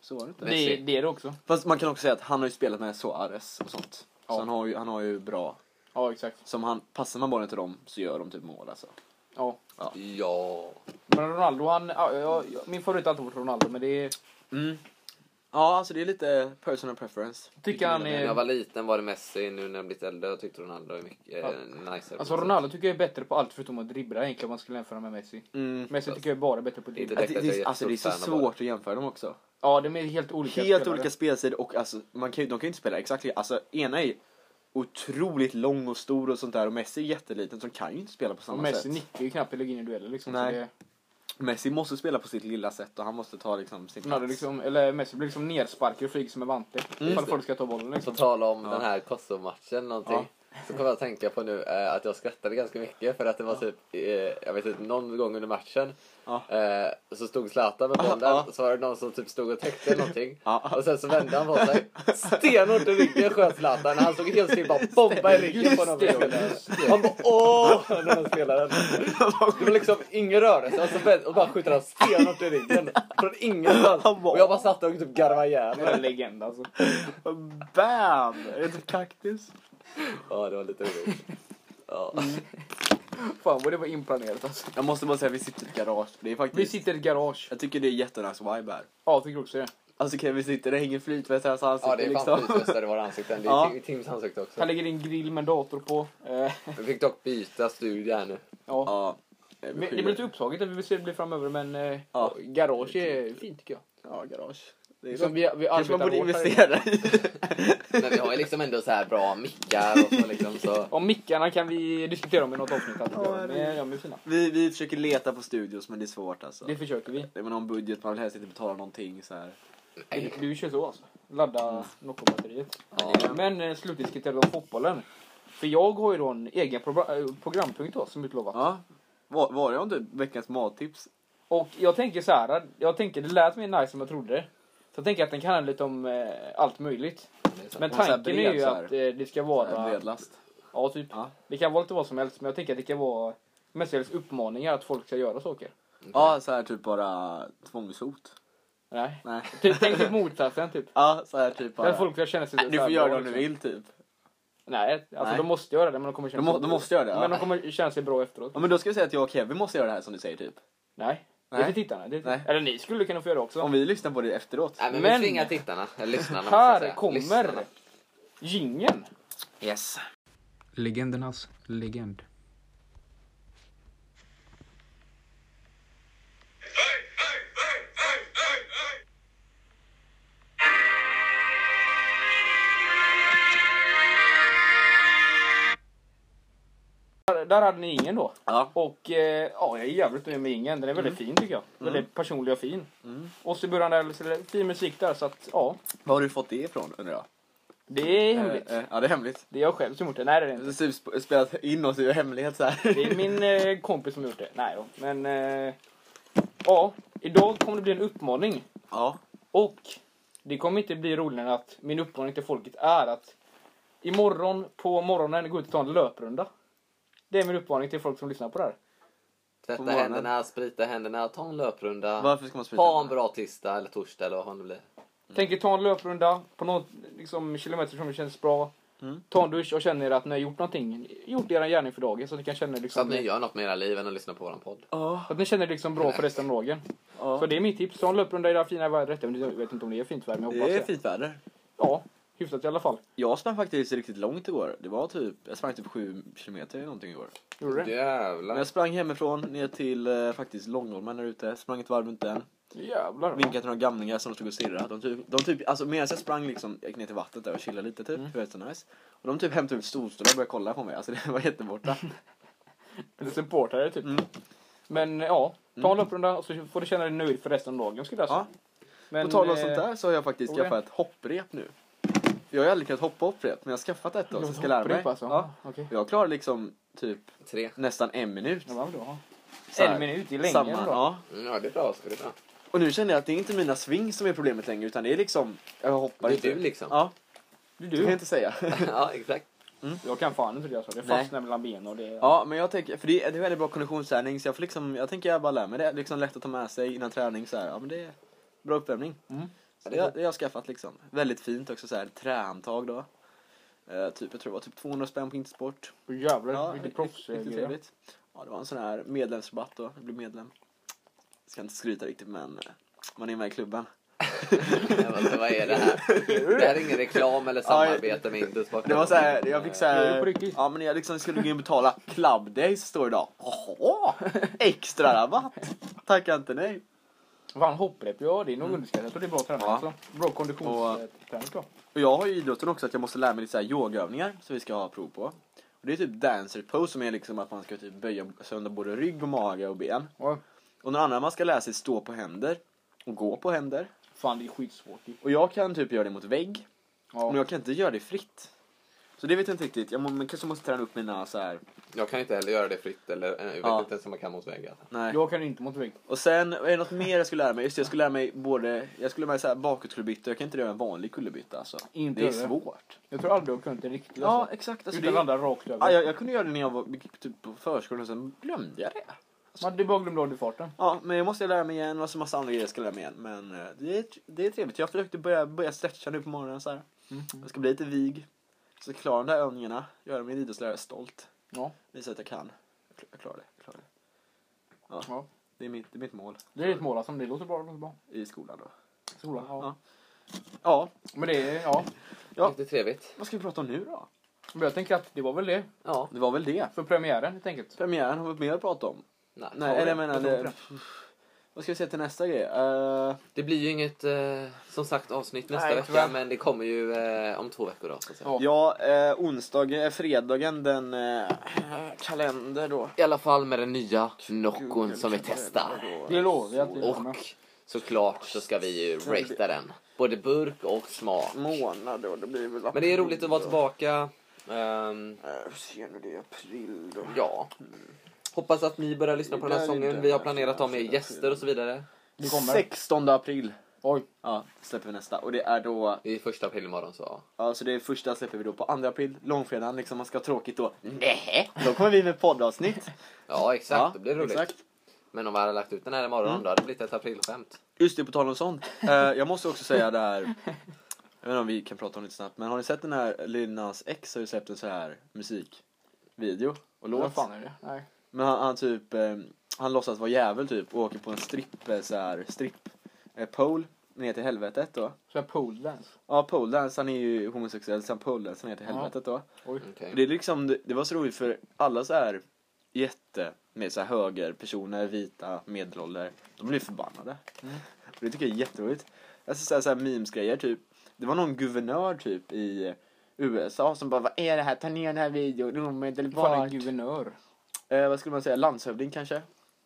Så var det inte. Det, det är det också. Fast man kan också säga att han har ju spelat med Suarez och sånt. Ja. Så han har, ju, han har ju bra. Ja, exakt. Som han, passar man bollen till dem så gör de typ mål alltså. Ja. Ja. Men Ronaldo, han... Ja, ja, ja, min favorit har alltid varit Ronaldo, men det är... Mm. Ja, alltså det är lite personal preference. Tycker han När jag är... var liten var det Messi, nu när jag blivit äldre jag tyckte Ronaldo är mycket eh, nicer. Alltså Ronaldo tycker jag är bättre på allt förutom att dribbla egentligen om man skulle jämföra med Messi. Mm. Messi tycker jag är bara bättre på att dribbla. Inte Att det, direkt att jag det, är är- alltså det är så jättestort fan av svårt att jämföra dem också. Ja, de är helt olika Helt spelare. olika spelsidor och alltså, man kan ju, de kan ju inte spela exakt lika. Alltså ena är otroligt lång och stor och sånt där och Messi är jätteliten så de kan ju inte spela på Och samma Messi sätt. nickar ju knappt eller lägger in i dueller liksom. Nej. Så det, Messi måste spela på sitt lilla sätt och han måste ta liksom sin Ronaldo liksom, eller Messi blir liksom nersparkad och flyger som en vante. Mm, Ifall folk ska ta bollen På liksom. tal om den här Kosovo-matchen någonting. Så kommer jag att tänka på nu eh, att jag skrattade ganska mycket för att det var typ, eh, jag vet inte, någon gång under matchen Ja. eh, så stod Zlatan med bollen Ja. och så var det någon som typ stod och täckte någonting. Ja. Och sen så vände han på sig, stenhårt i ryggen sköt Zlatan. Han såg helt still bara bomba i ryggen på någon spelare. Han bara åh! Den här spelaren. Det var liksom ingen rörelse och, så vänd, och bara skjuter han stenhårt i ryggen. Från ingenstans. Han bara- Och jag bara satt och typ garvade ihjäl Det är en legend alltså. Bam! Är det typ kaktus? Ja, det var lite roligt. Ja. Fan vad det var inplanerat alltså. Jag måste bara säga vi sitter i ett garage. Det är Vi faktiskt... sitter i ett garage. Jag tycker det är jättenice vibe här. Ja, jag tycker också det. Alltså okej, vi sitter, det hänger flytväst i hans ansikte Ja, det är fan alltså. liksom. flytvästar i våra ansikten. Det är Ja. Tim- Tims ansikte också. Han lägger in grill med en dator på. Eh, Vi fick dock byta studie här nu. ja. Ja. vi Men Det skyller- blir lite upptaget, vi får se hur det blir framöver men eh, Ja. garage är fint tycker jag. Ja, garage. Det är Liksom, Som vi, vi Kanske arbetar man borde hårt här investera i. Men vi har ju liksom ändå så här bra mickar och så liksom så. Om mickarna kan vi diskutera om i något avsnitt. Alltså. Ja, de är, de är fina. Vi, vi försöker leta på studios men det är svårt alltså. Det försöker vi. Det var någon budget, man vill helst inte betala någonting så här. Du, du kör så alltså. Mm. Ladda Nocco-batteriet. Men eh, slutdiskuterade om fotbollen. För jag har ju då en egen pro- eh, programpunkt då, som utlovat. Ja. Var, var jag inte veckans mattips? Och jag tänker så här, jag tänker det lät mer nice än jag trodde. Så jag tänker att den kan handla lite om eh, allt möjligt. Men Och så här tanken bred är ju så här. att eh, det ska Äh, vara... Bredlast. Ja, typ. Ja. Det kan vara lite vad som helst, men jag tänker att det kan vara mestadels uppmaningar att folk ska göra saker. Ja, så här typ bara tvångshot. Nej. Nej. Typ, tänk typ motsatsen, typ. Ja, så här typ Där bara. folk ska känna sig Du så här får göra bra, det om du liksom. vill typ. Nej, alltså Nej. de måste göra det men de kommer känna De må- sig de bra. måste göra det, ja. Men de kommer känna sig bra efteråt. Ja men då ska vi säga att jag och Kevin måste göra det här som du säger typ. Nej. Det är Nej. till tittarna. Det är till... Nej. Eller ni skulle kunna få göra det också. Om vi lyssnar på det efteråt. Nej men, Men- vi tvingar tittarna, eller lyssnarna måste jag Här säga. kommer Lyssnarna. jingeln. Yes. Legendernas legend. Där- Där hade ni ingen då. Ja. Och eh, ja, jag är jävligt nöjd med ingen. Den är väldigt fin tycker jag. Väldigt personlig och fin. Och så i början där, så är det fin musik där så att ja, Var har du fått det ifrån undrar jag? det är hemligt. Eh, eh, ja det är hemligt. Det är jag själv som gjort det. Nej det är det inte. Så Typ sp- spelat in oss i hemlighet så här. Det är min eh, kompis som gjort det. Nej då. Men eh, ja, idag kommer det bli en uppmaning. Ja. Och det kommer inte bli roligare än att min uppmaning till folket är att imorgon på morgonen gå ut och ta en löprunda. Det är min uppmaning till folk som lyssnar på det här. Tvätta morgonen. händerna, sprita händerna, ta en löprunda. Varför ska man sprita? Ha en bra tisdag eller torsdag eller vad fan det blir. Tänk er ta en löprunda på någon liksom, kilometer som känns bra. Mm. Ta en dusch och känner att ni har gjort någonting. Gjort er gärning för dagen så att ni kan känna er Så liksom, att ni gör något med era liv än att lyssna på våran podd. Ja. så att ni känner er liksom bra för resten av dagen. Så det är mitt tips. Ta en löprunda i det här fina vädret. Jag vet inte om det är fint väder men jag hoppas Det är det. fint väder. Ja, hyfsat i alla fall. Jag sprang faktiskt riktigt långt igår. Det var typ, jag sprang typ 7 kilometer eller någonting igår. Gjorde det? Jävlar. Men jag sprang hemifrån ner till eh, faktiskt Långholmen där ute, sprang ett varv runt den. Jävlar. Vinkade till några gamlingar som stod och stirrade. De typ, de typ, alltså medan jag sprang liksom, jag gick ner till vattnet där och chillade lite Mm. typ, det var så nice. Och de typ hämtade ut storstolar och började kolla på mig, alltså det var jätteborta. Eller supportare typ. Mm. Men ja, ta en löprunda och så får du känna dig nöjd för resten av dagen skulle jag säga. Ja. På tal om sånt eh, där så har jag faktiskt Ove? skaffat ett hopprep nu. Jag har ju aldrig kunnat hoppa hopprep, men jag har skaffat ett då, så jag ska lära mig. Hopprep alltså? Ja. Okej. Jag klarar liksom typ Tre. nästan en minut. Det var bra. Så här. En minut i längden Samma, då. ja. Mm, ja, det är bra. Oskar, Det är bra. Och nu känner jag att det är inte mina swing som är problemet längre, utan det är liksom, jag hoppar Det är inte. du liksom. Ja, Du, det kan jag du. inte säga. ja, exakt. Jag kan fan inte det alltså. Det Nej. fastnar mellan benen och det... Ja, men jag tänker, för det är, det är väldigt bra konditionsträning så jag får liksom, jag tänker jag bara lär mig det. Liksom lätt att ta med sig innan träning så här. Ja men det är bra uppvärmning. Mm. Så det, har- det har jag skaffat liksom. Väldigt fint också så här, trähandtag då. Eh, typ, jag tror det var typ 200 spänn på Intersport. Åh, Jävlar, Ja, vilket rikt- proffs. eh, Riktigt grejer. trevligt. Ja, det var en sån här medlemsrabatt då, jag blev medlem. Ska inte skryta riktigt men eh, man är med i klubben. Ja, men vad är det här? Det här är ingen reklam eller samarbete med Intersport. Det var så här, jag fick så Det är ju på här, riktigt. ja men jag liksom skulle gå in och betala Club Days står det idag. Jaha, extra rabatt. Tackar inte nej. Fan hopprep, ja det är nog underskattat. Jag tror det är bra träning Mm. Ja. alltså. Bra konditionsträning tror Och jag har ju idrotten också att jag måste lära mig lite så här yogaövningar som vi ska ha prov på. Och det är typ dancer pose som är liksom att man ska typ böja sönder både rygg och mage och ben. jag. Ja. Och någon annan man ska lära sig stå på händer och gå på händer. Fan det är skitsvårt. ju. Och jag kan typ göra det mot vägg, men Ja. jag kan inte göra det fritt. Så det vet jag inte riktigt. Jag må, men kanske måste träna upp mina så här. Jag kan inte heller göra det fritt. Eller, eh, jag vet Ja. inte ens om man kan mot väggar. Nej. Jag kan inte mot vägg. Och sen, är det något mer jag skulle lära mig? Just det, jag skulle lära mig både, jag skulle lära mig så här bakåtkullerbytta. Jag kan inte göra en vanlig kullerbytta alltså. Inte det är heller. svårt. Jag tror aldrig jag kunnat det riktigt Ja, alltså. exakt. Utan Alltså, det... det, landa rakt över. ja, jag, jag kunde göra det när jag var gick typ, på förskolan och sen glömde jag det. Man, det bara glömde av dig farten. Ja, men jag måste jag lära mig igen och så massa andra grejer jag ska lära mig igen. Men eh, det är, det är trevligt. Jag försökte börja, börja stretcha nu på morgonen så här. Jag ska bli lite vig. Så klara de där övningarna. Göra min idrottslärare stolt. Ja. Visa att jag kan. Jag kl- Jag klarar det. Jag klarar det. Ja. Ja. Det, är mitt, det är mitt mål Det är ditt mål alltså. Det låter bra. Det låter bra. i skolan då. Sola. Ja. Ja. Ja, Men det är, ja. Ja. Lite trevligt. vad ska vi prata om nu då? Men jag tänker att det var väl det. Ja. Det var väl det. För premiären helt enkelt. Premiären har vi mer att prata om. Nej, Nej, ta eller det. jag menar... tror Det, vad ska vi säga till nästa grej? Eh, Det blir ju inget eh, som sagt avsnitt nästa Nej, vecka. tyvärr. Men det kommer ju eh, om två veckor då. Så att säga. Ja. ja, eh, onsdagen, eh, fredagen den... Eh, kalender då. I alla fall med den nya Noccon som vi testar. Det lovar vi att det kommer. Och såklart så ska vi ju ratea den. Både burk och smak. Mm. månad då. Det blir väl Men det är roligt att vara tillbaka. Ehm, Eh, ser nu det är april då. ja. Hoppas att ni börjar lyssna på den här Det där är sången. inte Vi har här planerat att ha med sidan, gäster och så vidare. Det kommer. 16 april. Oj. Ja, släpper vi nästa. Och det är då, Det är första april imorgon så. ja, så det är första släpper vi då på 2 april, långfredagen liksom, man ska ha tråkigt då. Nej, då kommer vi med poddavsnitt. Ja Mm. exakt, Ja, det blir roligt. exakt. Mm. Men om vi hade lagt ut den här imorgon då hade det blivit ett aprilskämt. Just det, på tal om sånt. Eh, jag måste också säga det här, jag vet inte om vi kan prata om det lite snabbt, men har ni sett den här Linnas ex har ju släppt en så här musikvideo och låt. Vad fan är det? Nej. Men han, han typ, eh, han låtsas vara djävul typ och åker på en stripp, eh, så här, stripp, eh, pole ner till helvetet då. Så här pole dance. Ja, poledance, han är ju homosexuell så han poledance ner till Ja. helvetet då. Oj. Okej. Och det är liksom, det, det var så roligt för alla så här jätte, med så här högerpersoner, vita, medelålder, de blev förbannade. Och det tycker jag är jätteroligt. Jag ser så här, så här memes-grejer typ. Det var någon guvernör typ i USA som bara, vad är det här? Ta ner den här videon Fan en omedelbart. guvernör. Eh, vad skulle man säga? Landshövding kanske?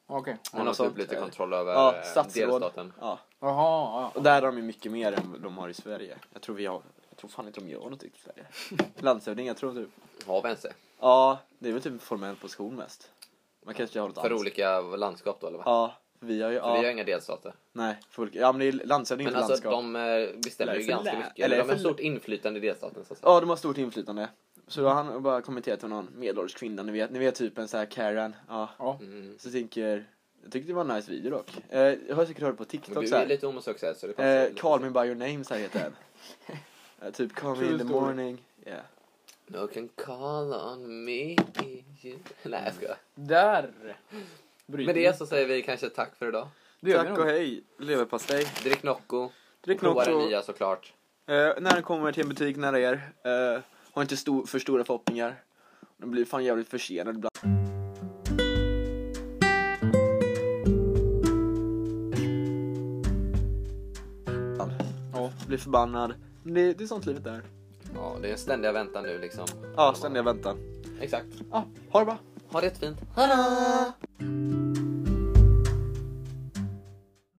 Okej. Man har något typ sånt, lite eh, kontroll över ja, eh, statsråd. delstaten. Ja. Jaha. Och där har de ju mycket mer än de har i Sverige. Jag tror vi har, jag tror fan inte de gör något i Sverige. Landshövding, jag tror typ. Har vi ens det? Ja, det är väl typ en formell position mest. Man kanske har något För annat. olika landskap då eller vad? Ja, vi har ju, För vi har ja, inga delstater. nej, för olika, ja men det är landshövding Men och alltså landskap. de eh, bestämmer ju Eller för ganska lä- mycket. eller de har för- stort inflytande i delstaten så att säga. Ja, de har stort inflytande. Så då har han bara kommenterat med någon medelålders kvinna, ni vet, ni vet typ en så här Karen, ja. Ja. Mm. Så tänker, jag tyckte det var en nice video dock. Eh, jag har säkert hört på Men TikTok du så är här. lite homosexuell så det passar. Eh, liksom. lite. call me by your name så här heter den. Eh, typ call me True in the story. morning. Yeah. No can call on me. Nej, jag skojar. Där! Mm. Bryter Med vi. det så säger vi kanske tack för idag. Det gör vi Tack nog. och hej, leverpastej. Drick Nocco. Drick Prova den Nocco. nya såklart. Eh, när den kommer till en butik nära er. Eh, ha inte stor, för stora förhoppningar. Den blir fan jävligt försenad ibland. Ja, blir förbannad. Men Det, det är sånt livet är. Ja, det är en ständiga väntan nu liksom. Ja, ständiga väntan. Exakt. Ja, ha det bra. Ha det fint.